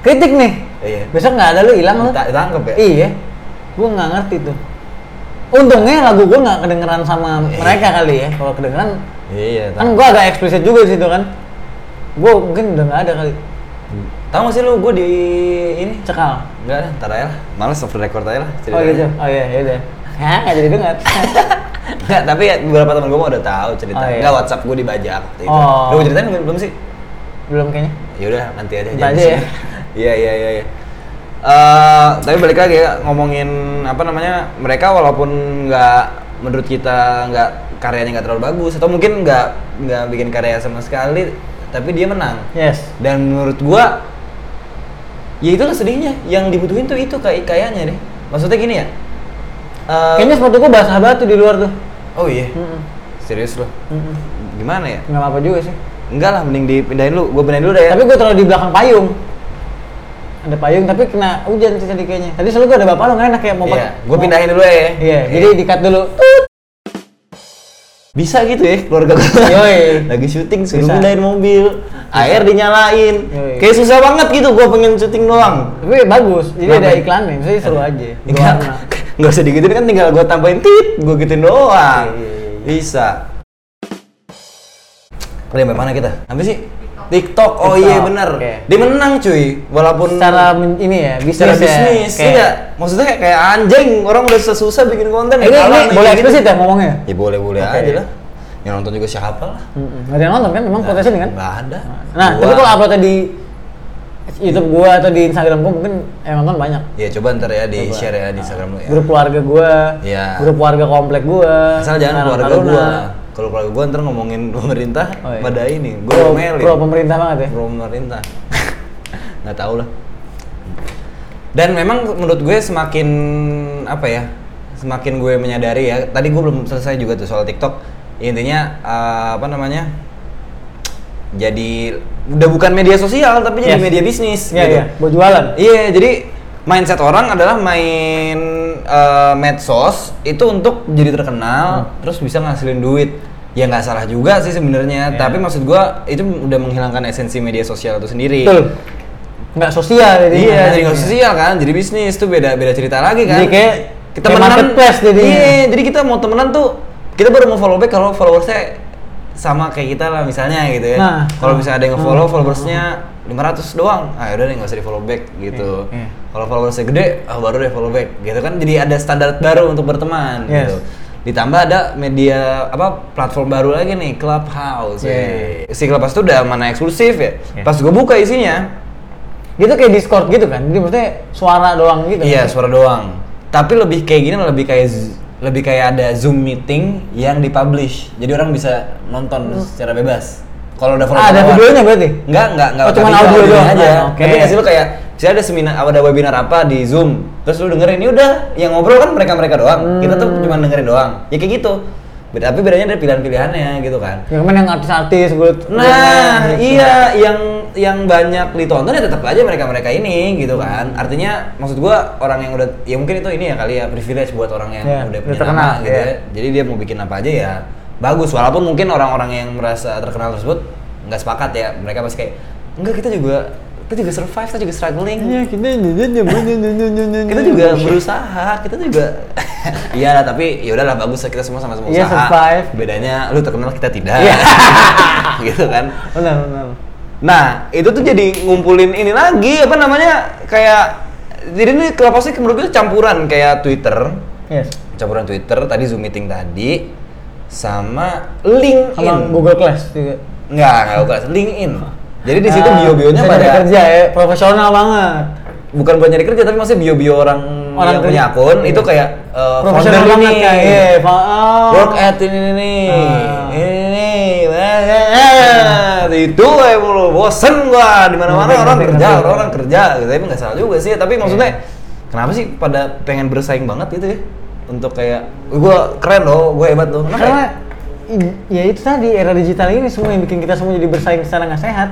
B: Kritik nih.
A: iya
B: Besok nggak ada lo hilang lo.
A: tak tangkep ya
B: Iya. Gue nggak ngerti tuh. Untungnya lagu gue nggak kedengeran sama
A: Iya.
B: mereka kali ya. Kalau kedengeran
A: iya
B: kan
A: tangkep.
B: gue agak eksplisit juga di situ kan. Gue mungkin udah nggak ada kali.
A: tahu gak sih lu gue di ini
B: Cekal.
A: enggak ada ntar aja lah males off the record aja lah
B: Oh
A: ceritanya.
B: gitu. Oh iya, ya udah. Hah, nggak jadi dengar.
A: Enggak, tapi ya beberapa teman gue udah tahu cerita.
B: Oh, iya.
A: Enggak WhatsApp gue dibajak waktu itu.
B: Oh.
A: Udah gue ceritain belum, belum sih?
B: Belum kayaknya.
A: Ya udah nanti aja.
B: Nanti
A: jangan
B: aja
A: sih.
B: ya.
A: Iya iya iya. iya. Eh, tapi balik lagi ya, ngomongin apa namanya mereka walaupun nggak menurut kita nggak karyanya nggak terlalu bagus atau mungkin nggak nggak bikin karya sama sekali tapi dia menang
B: Yes.
A: dan menurut gua ya itulah sedihnya yang dibutuhin tuh itu kayak kayaknya deh maksudnya gini ya eh,
B: Kayaknya sepatu gua basah banget tuh di luar tuh.
A: oh iya
B: Mm-mm.
A: serius loh
B: Mm-mm.
A: gimana ya
B: Nggak apa-apa juga sih.
A: enggak lah mending dipindahin lu gua pindahin dulu deh ya
B: Tapi gua taruh di belakang payung. Ada payung tapi kena hujan sih tadi kayaknya. Tadi selalu gua ada bapak lo nggak enak ya mau
A: Iya,
B: pakai.
A: gua
B: mau-
A: pindahin dulu ya iya
B: Iya, jadi di-cut dulu. Tut.
A: bisa gitu ya keluarga gua
B: Yoi.
A: lagi syuting suruh
B: Iya. Bisa.
A: pindahin mobil air dinyalain
B: Yoi.
A: kayak susah banget gitu gua pengen syuting doang
B: Tapi bagus. Jadi ada
A: Ngapain?
B: iklannya, maksudnya seru aja.
A: Enggak,
B: Berwarna.
A: nggak usah digituin kan tinggal gue tambahin tit, gue gituin doang.
B: Iya, iya, iya.
A: Bisa. Udah sampai mana kita? Apa sih? TikTok. Oh
B: TikTok,
A: iya bener.
B: oke.
A: Dia menang cuy, walaupun
B: Secara men- ini ya, bisnis
A: secara
B: ya,
A: bisnis.
B: kayak-
A: Iya, maksudnya kayak, kayak anjing, orang udah sesusah bikin konten.
B: Eh, Ini,
A: kalah
B: ini
A: nih,
B: boleh
A: gitu.
B: eksplisit ya ngomongnya?
A: Ya boleh-boleh
B: Oke.
A: aja lah. Yang nonton juga siapa lah.
B: Mm-mm. Nggak ada yang nonton kan? Emang
A: Nah,
B: potensi nih kan?
A: Nggak ada.
B: Nah,
A: Gua-
B: tapi kalau uploadnya di YouTube gua atau di Instagram gua mungkin yang nonton banyak.
A: Ya coba ntar ya di
B: Coba.
A: share ya di Instagram lu ya.
B: Grup keluarga gua,
A: Iya.
B: grup keluarga komplek gua.
A: Asal jangan
B: Karang
A: keluarga
B: Taruna.
A: gua. Kalau keluarga gua ntar ngomongin pemerintah
B: Oh, iya.
A: pada ini, gua Iya,
B: Pro,
A: ngomelin.
B: pro pemerintah banget ya.
A: Pro pemerintah. Nggak tahu lah. Dan memang menurut gue semakin apa ya? Semakin gue menyadari ya. Tadi gue belum selesai juga tuh soal TikTok. Intinya eh, apa namanya? Jadi udah bukan media sosial tapi jadi
B: Yes.
A: media bisnis
B: Iya,
A: gitu.
B: iya, buat jualan.
A: Iya, jadi mindset orang adalah main eh, medsos itu untuk jadi
B: Hmm.
A: terkenal, terus bisa ngasilin duit. Ya nggak salah juga sih sebenarnya,
B: Iya.
A: tapi maksud gua itu udah menghilangkan esensi media sosial itu sendiri.
B: Betul. Nggak sosial jadi.
A: Iya, jadi nggak sosial kan, jadi bisnis itu beda beda cerita lagi kan.
B: Jadi kayak-
A: kita
B: kayak
A: temenan,
B: marketplace jadinya.
A: Iya, jadi kita mau temenan tuh kita baru mau follow back kalau followersnya sama kayak kita lah misalnya gitu ya.
B: Nah.
A: kalau misalnya ada yang nge-follow
B: Hmm.
A: followersnya 500 doang, ah udah deh nggak usah di follow back gitu.
B: Iya, iya.
A: Kalau followersnya gede, ah baru deh follow back gitu kan. Jadi ada standar baru untuk berteman
B: Yes.
A: gitu. Ditambah ada media apa platform baru lagi nih Clubhouse.
B: Iya.
A: eh. Si Clubhouse itu udah mana eksklusif ya.
B: Iya.
A: Pas gue buka isinya,
B: Gitu kayak Discord gitu kan. Jadi maksudnya suara doang gitu.
A: Iya, suara doang. Tapi lebih kayak gini lebih kayak z- lebih kayak ada Zoom meeting yang dipublish. Jadi orang bisa nonton secara bebas. Kalau udah follow
B: Oh. Ah, ada
A: followan.
B: videonya berarti?
A: Enggak, enggak, enggak.
B: Oh, cuman
A: Tapi
B: audio doang.
A: aja.
B: Ah, oke.
A: Tapi nggak sih lu kayak misalnya ada seminar ada webinar apa di Zoom, terus lu dengerin, ya udah yang ngobrol kan mereka-mereka doang. Kita tuh
B: Hmm.
A: cuma dengerin doang. Ya kayak gitu. Be- Tapi bedanya ada pilihan-pilihannya gitu kan.
B: Yang mana yang artis-artis gue gitu.
A: Nah, iya yang yang banyak ditonton ya tetap aja mereka-mereka ini gitu kan. Artinya maksud gua orang yang udah ya mungkin itu ini ya kali ya privilege buat orang yang
B: Iya,
A: udah
B: udah
A: punya
B: terkenal,
A: nama gitu
B: iya.
A: ya. Jadi dia mau bikin apa aja ya bagus walaupun mungkin orang-orang yang merasa terkenal tersebut nggak sepakat ya. Mereka pasti kayak enggak kita juga kita juga survive, kita juga struggling.
B: Iya, kita
A: Kita juga berusaha, kita juga Iya lah, tapi ya udahlah bagus lah, kita semua sama-sama
B: Iya,
A: usaha.
B: survive.
A: Bedanya lu terkenal kita tidak.
B: Iya.
A: gitu kan.
B: Benar, benar.
A: Nah, itu tuh jadi ngumpulin ini lagi apa namanya? Kayak jadi ini kelapasnya menurut gue campuran kayak Twitter,
B: Yes.
A: campuran Twitter tadi Zoom meeting tadi sama LinkedIn.
B: Sama Google Class juga.
A: Enggak, enggak Google Class, LinkedIn. Jadi di situ
B: Ah,
A: bio-bionya
B: bisa
A: pada
B: nyari kerja ya, profesional banget.
A: bukan buat nyari kerja tapi maksudnya bio-bio orang, yang
B: Orang kerja.
A: punya akun
B: Iya.
A: itu kayak eh,
B: Profesional
A: founder
B: banget
A: ini.
B: kayak. Iya, fa- oh.
A: Work at ini ini ini.
B: Ah.
A: Ini ini. Wah, wah, wah. Itu gue mulu bosen gua di mana-mana
B: Ngerti,
A: orang
B: ngerti,
A: kerja,
B: ngerti. Iya.
A: orang, orang kerja. Gitu. Tapi nggak salah juga sih, tapi maksudnya kenapa sih pada pengen bersaing banget gitu ya? Untuk kayak gua keren loh, gua hebat loh. Kenapa?
B: Karena
A: ya?
B: i- ya itu tadi era digital ini semua yang bikin kita semua jadi bersaing secara nggak sehat.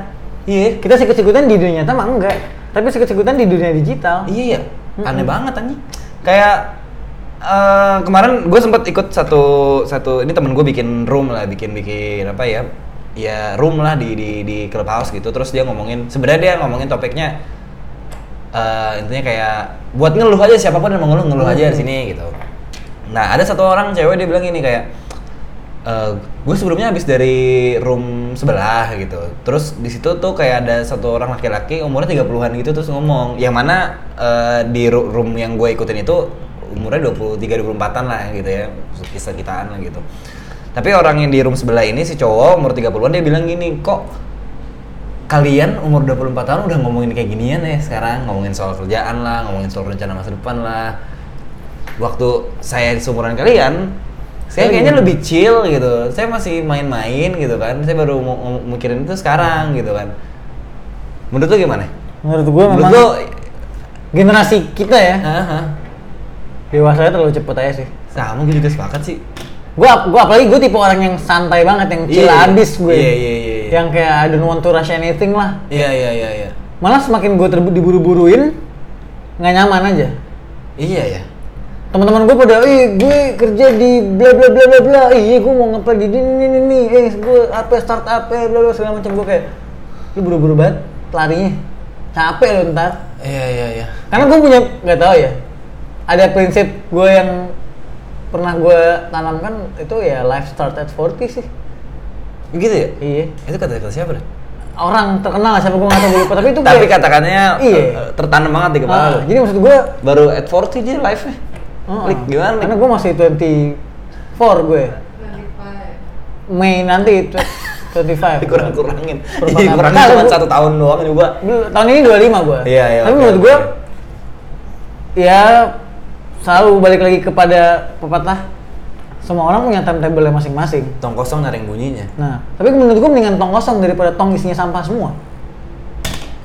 A: Iya.
B: Kita sikut-sikutan di dunia nyata mah enggak, tapi sikut-sikutan di dunia digital.
A: Iya ya, aneh
B: Mm-mm.
A: banget anjing. Kayak eh, kemarin gue sempat ikut satu satu ini temen gue bikin room lah, bikin bikin apa ya? Ya room lah di di di clubhouse gitu. Terus dia ngomongin, sebenarnya dia ngomongin topiknya eh, intinya kayak buat ngeluh aja siapapun yang mau ngeluh ngeluh aja di sini gitu. Nah ada satu orang cewek dia bilang ini kayak gue Eh, sebelumnya habis dari room sebelah gitu. Terus di situ tuh kayak ada satu orang laki-laki umurnya 30-an gitu terus ngomong. Yang mana eh, di ru- room yang gue ikutin itu umurnya 23 24-an lah gitu ya. Kisah kitaan lah gitu. Tapi orang yang di room sebelah ini si cowok umur 30-an dia bilang gini, "Kok kalian umur 24 tahun udah ngomongin kayak ginian ya sekarang ngomongin soal kerjaan lah ngomongin soal rencana masa depan lah waktu saya seumuran kalian saya kayaknya lebih chill gitu saya masih main-main gitu kan saya baru mu- mu- mikirin itu sekarang gitu kan menurut lo gimana
B: menurut gue
A: menurut
B: memang
A: lo eh,
B: generasi kita ya
A: Hah, hah?
B: dewasanya terlalu cepet aja sih
A: sama gue juga sepakat sih
B: gua gua apalagi gue tipe orang yang santai banget yang chill
A: Iya.
B: abis gue
A: Iya, iya, iya, iya.
B: yang kayak I don't want to rush anything lah
A: iya iya iya iya
B: malah semakin gue diburu-buruin nggak nyaman aja
A: iya ya
B: teman-teman gue pada ih gue kerja di bla bla bla bla bla ih gue mau ngapain di ini ini ini eh gue apa startup eh bla bla segala macam gue kayak lu buru-buru banget larinya capek lu ntar
A: iya iya iya
B: karena gue punya nggak tahu ya ada prinsip gue yang pernah gue tanamkan itu ya life start at 40 sih
A: gitu ya
B: iya
A: itu kata-kata siapa dah?
B: orang terkenal lah, siapa gue nggak tahu gue lupa tapi itu
A: tapi
B: kayak-
A: kata-katanya
B: Iya.
A: eh, tertanam banget di kepala
B: Ah,
A: lo.
B: jadi maksud gue
A: baru at 40 dia live-nya
B: Heeh.
A: Lik, gimana Lik?
B: Oh. Karena gue masih 24 gue. Mei nanti tw- 25.
A: dikurang-kurangin
B: Pertama-
A: iya kurangin
B: Nah,
A: cuma
B: gua-
A: satu tahun doang juga
B: Dulu- Tahun ini 25 gue.
A: Iya, iya,
B: Tapi
A: oke,
B: menurut
A: oke.
B: gue ya selalu balik lagi kepada pepatah semua orang punya timetable masing-masing.
A: tong kosong nyaring bunyinya
B: Nah, tapi menurut gue mendingan tong kosong daripada tong isinya sampah semua.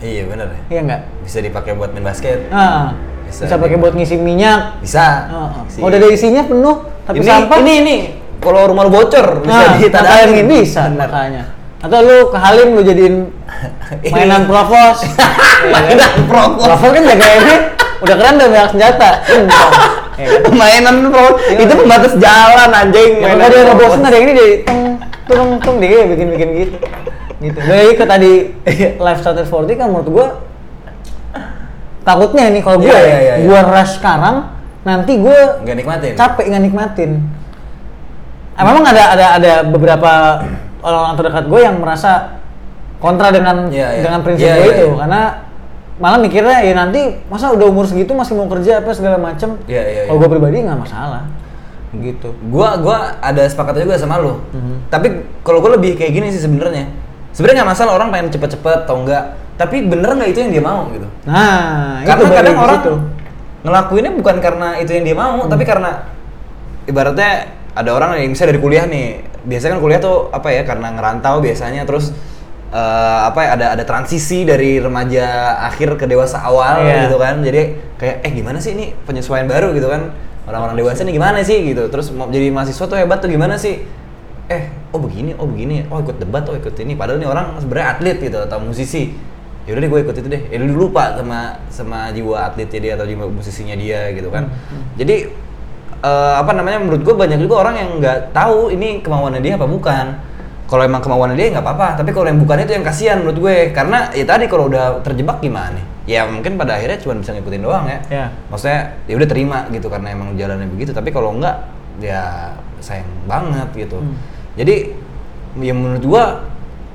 A: iya bener ya
B: Iya enggak?
A: bisa dipakai buat main basket
B: Nah,
A: Bisa
B: bisa, pakai
A: dibuat.
B: buat ngisi minyak.
A: bisa
B: Heeh.
A: Si-
B: Udah ada isinya penuh, ah. Oh, tapi
A: ini,
B: sampah
A: ini ini kalau rumah lu bocor bisa
B: nah,
A: ditadain
B: ditadain bisa
A: Bener.
B: makanya atau lu ke Halim lu jadiin
A: Ini.
B: mainan provos mainan
A: mainan prokos
B: provos kan jagainnya udah keren dan banyak senjata Entong. Ya
A: Eh,
B: kan?
A: mainan pro itu pembatas jalan anjing
B: Iya. ya kalau
A: Mainan
B: dia udah
A: prokos.
B: bosen ada yang ini di tung tung tung dia bikin bikin gitu gitu dari ke tadi
A: Iya.
B: live starter 40 kan menurut gua takutnya nih kalau gua
A: Iya,
B: ya,
A: iya, iya, iya.
B: gua rush sekarang nanti gua
A: nggak nikmatin
B: capek nggak nikmatin. Ah, memang ada ada ada beberapa orang-orang terdekat gue yang merasa kontra dengan
A: Iya, iya.
B: dengan prinsip
A: Iya,
B: gue
A: iya,
B: itu
A: iya.
B: karena malah mikirnya ya nanti masa udah umur segitu masih mau kerja apa segala macem.
A: Iya, iya,
B: Kalau
A: iya.
B: gue pribadi nggak masalah gitu.
A: gua gua ada sepakat juga sama lu
B: Mhm.
A: tapi kalau gua lebih kayak gini sih sebenarnya sebenarnya nggak masalah orang pengen cepet-cepet atau enggak tapi bener nggak itu yang dia mau gitu
B: Nah,
A: karena
B: balik
A: kadang
B: ke
A: orang
B: situ. Hmm.
A: ngelakuinnya bukan karena itu yang dia mau tapi karena ibaratnya ada orang yang bisa dari kuliah nih biasanya kan kuliah tuh apa ya karena ngerantau biasanya terus
B: Hmm.
A: eh, apa ya ada ada transisi dari remaja akhir ke dewasa awal
B: Iya.
A: gitu kan jadi kayak eh gimana sih ini penyesuaian baru gitu kan orang-orang dewasa ini gimana sih gitu terus mau jadi mahasiswa tuh hebat tuh gimana sih eh oh begini oh begini oh ikut debat oh ikut ini padahal nih orang sebenarnya atlet gitu atau musisi ya udah deh gue ikut itu deh ya lu lupa sama sama jiwa atletnya dia atau jiwa musisinya dia gitu kan jadi eh, apa namanya menurut gue banyak juga orang yang nggak tahu ini kemauannya dia apa bukan kalau emang kemauannya dia nggak apa-apa tapi kalau yang bukan itu yang kasihan menurut gue karena ya tadi kalau udah terjebak gimana ya mungkin pada akhirnya cuma bisa ngikutin doang ya
B: Iya.
A: maksudnya ya udah terima gitu karena emang jalannya begitu tapi kalau enggak ya sayang banget gitu
B: Hmm.
A: jadi ya menurut gua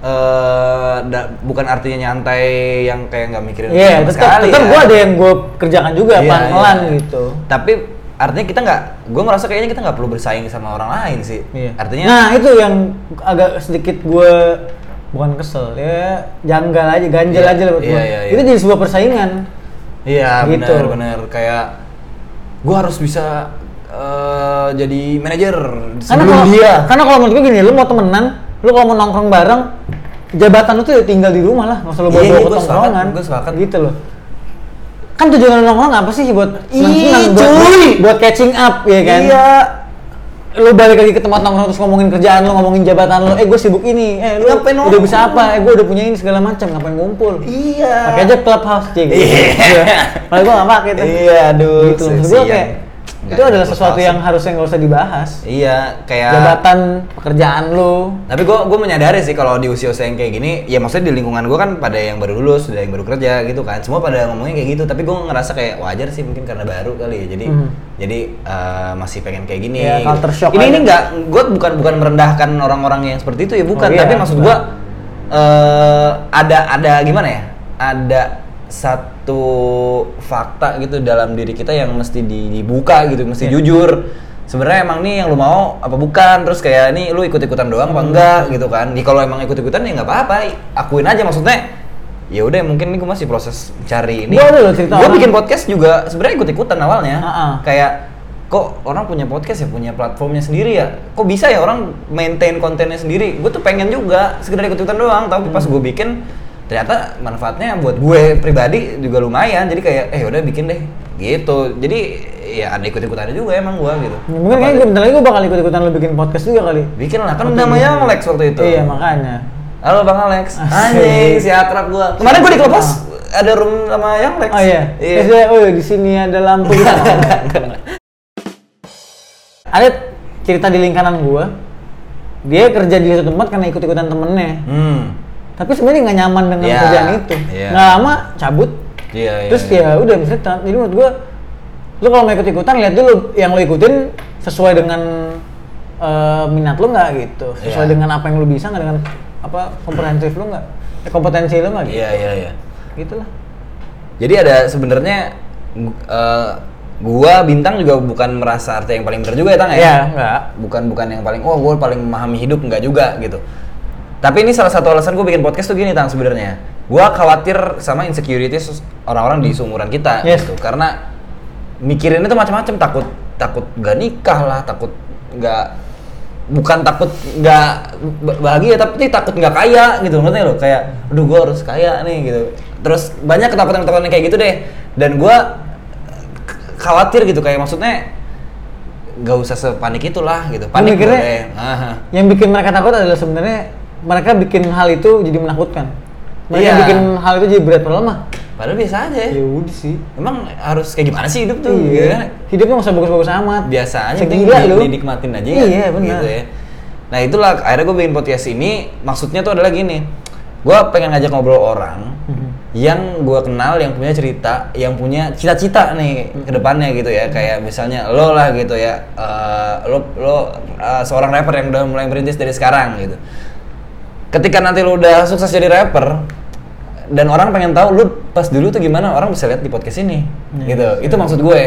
A: eh da- bukan artinya nyantai yang kayak nggak mikirin
B: Iya,
A: sama
B: tetap
A: sekali
B: tetap
A: ya.
B: gue ada yang gue kerjakan juga
A: Iya,
B: pelan-pelan
A: iya.
B: gitu.
A: tapi artinya kita nggak gua merasa kayaknya kita nggak perlu bersaing sama orang lain sih
B: Iya.
A: artinya
B: Nah itu yang agak sedikit gue bukan kesel ya janggal aja ganjel
A: Iya,
B: aja lah buat
A: iya,
B: gua.
A: iya, iya.
B: Itu jadi sebuah persaingan.
A: Iya
B: Gitu.
A: benar benar kayak gua harus bisa eh, jadi manajer
B: Karena
A: sebelum
B: kalau
A: dia.
B: karena kalau menurut gue gini, lu mau temenan, lu kalau mau nongkrong bareng, jabatan lu tuh ya tinggal di rumah lah, nggak usah lu
A: Iya,
B: bawa bawa
A: iya,
B: ke
A: gua sepakat,
B: tongkrongan.
A: gua sepakat.
B: Gitu loh. Kan tujuan lu nongkrong apa sih buat
A: Ih,
B: senang-senang, buat,
A: cuy!
B: buat, buat catching up ya kan?
A: Iya.
B: Lu balik lagi ke tempat nongkrong terus ngomongin kerjaan lu, ngomongin jabatan lu. Eh, gue sibuk ini. Eh, lu
A: Ngapain
B: udah
A: nongkrong?
B: bisa apa? Eh, gue udah punya ini segala macam. Ngapain ngumpul?
A: Iya.
B: pakai aja clubhouse cing
A: Iya.
B: kalau gua nggak pakai tuh
A: Iya, aduh,
B: gitu maksud gua
A: sian.
B: kayak
A: Nggak
B: itu
A: ada
B: adalah sesuatu
A: Clubhouse.
B: yang harusnya nggak usah dibahas
A: Iya kayak
B: jabatan pekerjaan lu
A: Tapi gue gue menyadari sih kalau di usia-usia yang kayak gini, ya maksudnya di lingkungan gue kan pada yang baru lulus, ada yang baru kerja gitu kan, semua pada ngomongnya kayak gitu. Tapi gue ngerasa kayak wajar sih mungkin karena baru kali ya, jadi
B: Hmm.
A: jadi eh, masih pengen kayak gini.
B: Iya,
A: gitu.
B: culture shock
A: Ini
B: aja.
A: ini nggak, gue bukan bukan merendahkan orang-orang yang seperti itu ya bukan,
B: Oh, iya,
A: tapi maksud gue
B: bukan.
A: eh ada ada gimana ya, ada satu fakta gitu dalam diri kita yang mesti di- dibuka gitu,
B: Iya.
A: mesti jujur. Sebenarnya emang nih yang lu mau apa bukan? Terus kayak nih lu ikut-ikutan doang
B: Hmm.
A: apa enggak gitu kan? Ya kalau emang ikut-ikutan ya nggak apa-apa, akuin aja maksudnya. Ya udah mungkin ini gue masih proses cari ini.
B: Gua ada loh cerita
A: Gua
B: orang.
A: bikin podcast juga sebenarnya ikut-ikutan awalnya.
B: Ha-ha.
A: Kayak kok orang punya podcast ya punya platformnya sendiri ya kok bisa ya orang maintain kontennya sendiri gue tuh pengen juga sekedar ikut-ikutan doang tapi
B: Hmm.
A: pas gue bikin ternyata manfaatnya buat gue pribadi juga lumayan jadi kayak eh udah bikin deh gitu jadi ya ada ikut-ikutannya juga emang gue gitu
B: Ya, mungkin kayaknya gue bentar lagi gue bakal ikut-ikutan lo bikin podcast juga kali.
A: bikin lah kan namanya Alex waktu itu
B: Iya, makanya.
A: Halo Bang Alex.
B: Asik.
A: Anjing, si akrab gua. Kemarin gua di Clubhouse ada room sama yang Lex.
B: Ah. Oh iya.
A: Iya.
B: Terus dia, oh di sini ada lampu gitu. ada cerita di lingkaran gua. Dia kerja di satu tempat karena ikut-ikutan temennya.
A: Hmm.
B: Tapi sebenarnya nggak nyaman dengan
A: Iya.
B: kerjaan itu.
A: Iya.
B: Nggak lama cabut.
A: Iya, iya.
B: Terus
A: iya.
B: ya udah misalnya ta- jadi menurut gua lu kalau mau ikut-ikutan lihat dulu yang lu ikutin sesuai dengan eh, minat lu nggak gitu. Sesuai
A: Iya.
B: dengan apa yang lu bisa nggak dengan apa komprehensif lu nggak? Eh, kompetensi lu nggak gitu.
A: Iya, iya, iya.
B: Gitulah.
A: Jadi ada sebenarnya gu- eh, gua bintang juga bukan merasa arti yang paling benar juga ya Tang ya?
B: Iya, nggak.
A: bukan bukan yang paling oh gue paling memahami hidup nggak juga gitu tapi ini salah satu alasan gue bikin podcast tuh gini tang sebenarnya gue khawatir sama insecurities orang-orang di seumuran kita
B: Yes.
A: gitu karena mikirinnya tuh macam-macam takut takut gak nikah lah takut nggak bukan takut nggak ba- bahagia tapi takut nggak kaya gitu ngerti lo kayak aduh gue harus kaya nih gitu terus banyak ketakutan-ketakutan kayak gitu deh dan gue khawatir gitu kayak maksudnya nggak usah sepanik itulah gitu panik
B: mikirnya-
A: boleh Aha.
B: yang bikin mereka takut adalah sebenarnya mereka bikin hal itu jadi menakutkan mereka
A: Iya. Eh.
B: bikin hal itu jadi berat padahal mah
A: padahal biasa aja
B: ya udah sih
A: emang harus kayak gimana sih hidup tuh
B: iya.
A: gitu kan?
B: hidupnya nggak usah bagus-bagus amat
A: biasa aja penting
B: segila
A: di-
B: lu
A: dinikmatin aja ya,
B: iya benar
A: gitu ya nah itulah akhirnya gue bikin podcast ini maksudnya tuh adalah gini gue pengen ngajak ngobrol orang
B: Mhm.
A: yang gue kenal yang punya cerita yang punya cita-cita nih
B: Mhm.
A: ke depannya gitu ya kayak misalnya lo lah gitu ya eh, lo lo eh, seorang rapper yang udah mulai merintis dari sekarang gitu ketika nanti lu udah sukses jadi rapper dan orang pengen tahu lu pas dulu tuh gimana orang bisa lihat di podcast ini
B: Iya,
A: gitu
B: iya.
A: itu maksud gue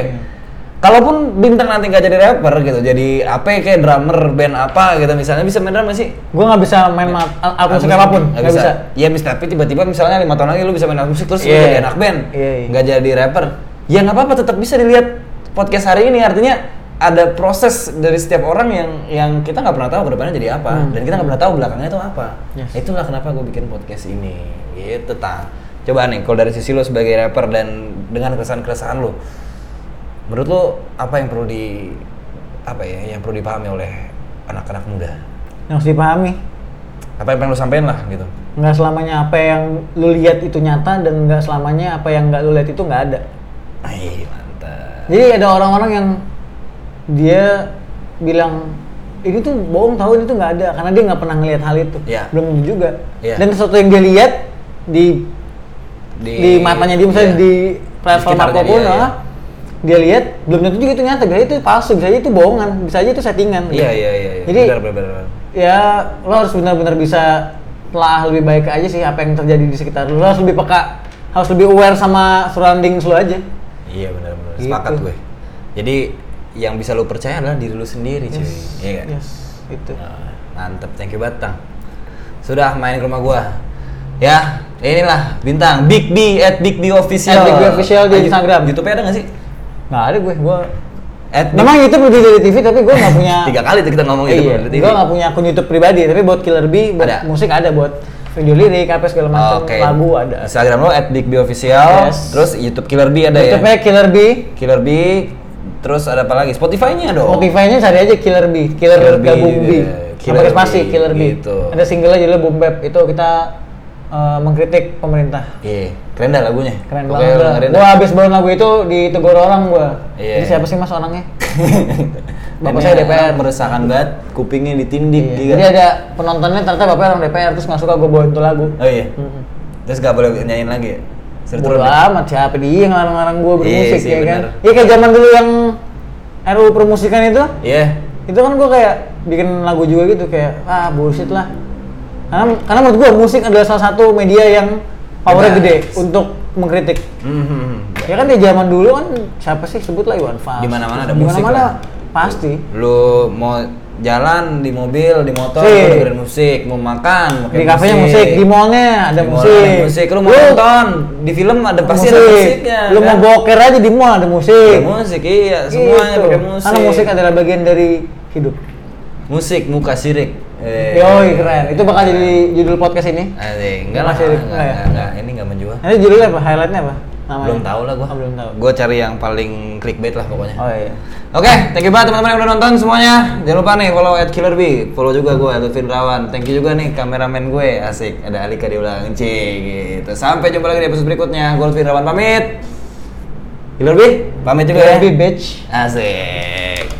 A: kalaupun bintang nanti nggak jadi rapper gitu jadi apa kayak drummer band apa gitu misalnya bisa main drum nggak sih
B: gue nggak bisa main ma- al- album musik
A: Nggak
B: apapun
A: bisa.
B: nggak bisa,
A: ya mis tapi tiba-tiba misalnya lima tahun lagi lu bisa main alat musik terus lu
B: Iya.
A: jadi anak band
B: Iya, iya.
A: nggak jadi rapper ya nggak apa-apa tetap bisa dilihat podcast hari ini artinya ada proses dari setiap orang yang yang kita nggak pernah tahu kedepannya jadi apa
B: Hmm.
A: dan kita nggak pernah tahu belakangnya itu apa
B: Yes.
A: itulah kenapa gue bikin podcast ini gitu tang coba nih kalau dari sisi lo sebagai rapper dan dengan keresahan-keresahan lo menurut lo apa yang perlu di apa ya yang perlu dipahami oleh anak-anak muda
B: yang harus dipahami
A: apa yang pengen lo sampein lah gitu
B: nggak selamanya apa yang lu lihat itu nyata dan nggak selamanya apa yang nggak lu lihat itu nggak ada
A: Hai, mantap.
B: Jadi ada orang-orang yang dia bilang ini tuh bohong tahu ini tuh nggak ada karena dia nggak pernah ngelihat hal itu
A: Iya.
B: belum tentu juga
A: Iya.
B: dan sesuatu yang dia lihat di di, matanya dia
A: iya.
B: misalnya di platform
A: sekitarnya
B: apapun
A: dia, iya.
B: lah dia lihat belum tentu juga itu nyata bisa aja itu palsu bisa aja itu bohongan bisa aja itu settingan
A: Iya, iya, iya. iya.
B: Jadi-
A: benar, benar, benar.
B: ya lo harus benar-benar bisa telah lebih baik aja sih apa yang terjadi di sekitar lo, lo harus lebih peka harus lebih aware sama surroundings lo aja
A: Iya, benar, benar.
B: Gitu.
A: Sepakat gue. Jadi yang bisa lo percaya adalah diri lo sendiri, cuy. Iya kan?
B: yes gitu. itu
A: Nah, mantep, thank you Batang. Sudah main ke rumah gua. Ya, inilah bintang Big B at Big B official.
B: At Big B Official di
A: Ah, Yu-
B: Instagram.
A: YouTube-nya ada nggak sih?
B: nggak ada gue gue
A: At Big-
B: memang YouTube lebih dari TV tapi gue nggak punya
A: Nah, tiga kali tuh kita ngomong itu
B: iya,
A: berarti.
B: gue nggak punya akun YouTube pribadi tapi buat Killer B buat
A: Ada.
B: musik ada buat video lirik apa segala macam
A: Oke.
B: lagu ada
A: Instagram lo at Big B official.
B: Yes.
A: Terus YouTube Killer B ada ya.
B: YouTube-nya Killer B
A: Killer B terus ada apa lagi? Spotify-nya dong.
B: Spotify-nya cari aja Killer B Killer,
A: Killer B,
B: gabung B
A: iya. Killer
B: Killer
A: B,
B: spasi Killer B
A: gitu.
B: ada single aja judulnya Boom Bap itu kita eh, mengkritik pemerintah
A: Iya, keren dah lagunya.
B: keren
A: Oke, lu
B: banget gue
A: dengerin
B: gue
A: dah.
B: abis bawain lagu itu ditegur orang gue
A: Iya.
B: jadi siapa sih mas orangnya
A: Ini
B: Bapak saya
A: anak
B: DPR.
A: meresahkan banget, kupingnya ditindik
B: Iya.
A: juga.
B: jadi ada penontonnya ternyata bapaknya orang DPR terus nggak suka gue bawain tuh lagu
A: Oh iya.
B: Mm-mm.
A: Terus gak boleh nyanyiin lagi ya? Suruh
B: Bodo
A: turun ya?
B: amat siapa dia yang ngelarang-ngelarang gue bermusik
A: Iya sih,
B: ya kan?
A: bener.
B: Iya kayak zaman dulu yang RU permusikan itu,
A: Iya.
B: itu kan gue kayak bikin lagu juga gitu kayak ah bullshit lah. Karena karena menurut gue musik adalah salah satu media yang powernya
A: Benar.
B: gede untuk mengkritik.
A: Mhm.
B: Ya kan di zaman dulu kan siapa sih sebutlah Iwan Fals.
A: Di mana-mana ada
B: Di
A: musik
B: mana-mana
A: lah.
B: pasti.
A: Lu mau jalan di mobil di motor
B: Sih.
A: gua dengerin musik mau makan pakai
B: di kafenya musik, di mallnya ada
A: Di mall
B: musik.
A: ada musik lu mau nonton di film ada pasti ada musiknya
B: Lu
A: kan?
B: mau boker aja di mall ada musik.
A: Ada musik iya semuanya
B: Gitu.
A: pakai musik
B: Karena musik adalah bagian dari hidup.
A: musik muka sirik Eh.
B: Yoi keren. Itu bakal jadi judul podcast ini.
A: Asik. enggak lah
B: Muka sirik.
A: enggak,
B: Enggak ya?
A: enggak, enggak. ini enggak menjual
B: Nanti judulnya apa? Highlightnya apa? Namanya?
A: belum tahu lah gua
B: Oh, belum tahu.
A: gua cari yang paling clickbait lah pokoknya
B: Oh iya.
A: Oke, thank you banget teman-teman yang udah nonton semuanya. Jangan lupa nih follow at Killer B, follow juga gue Lutfin Rawan. Thank you juga nih kameramen gue, asik. Ada Alika di ulang C gitu. Sampai jumpa lagi di episode berikutnya. Gue Lutfin Rawan pamit. Killer B, pamit juga ya.
B: Lebih bitch.
A: Asik.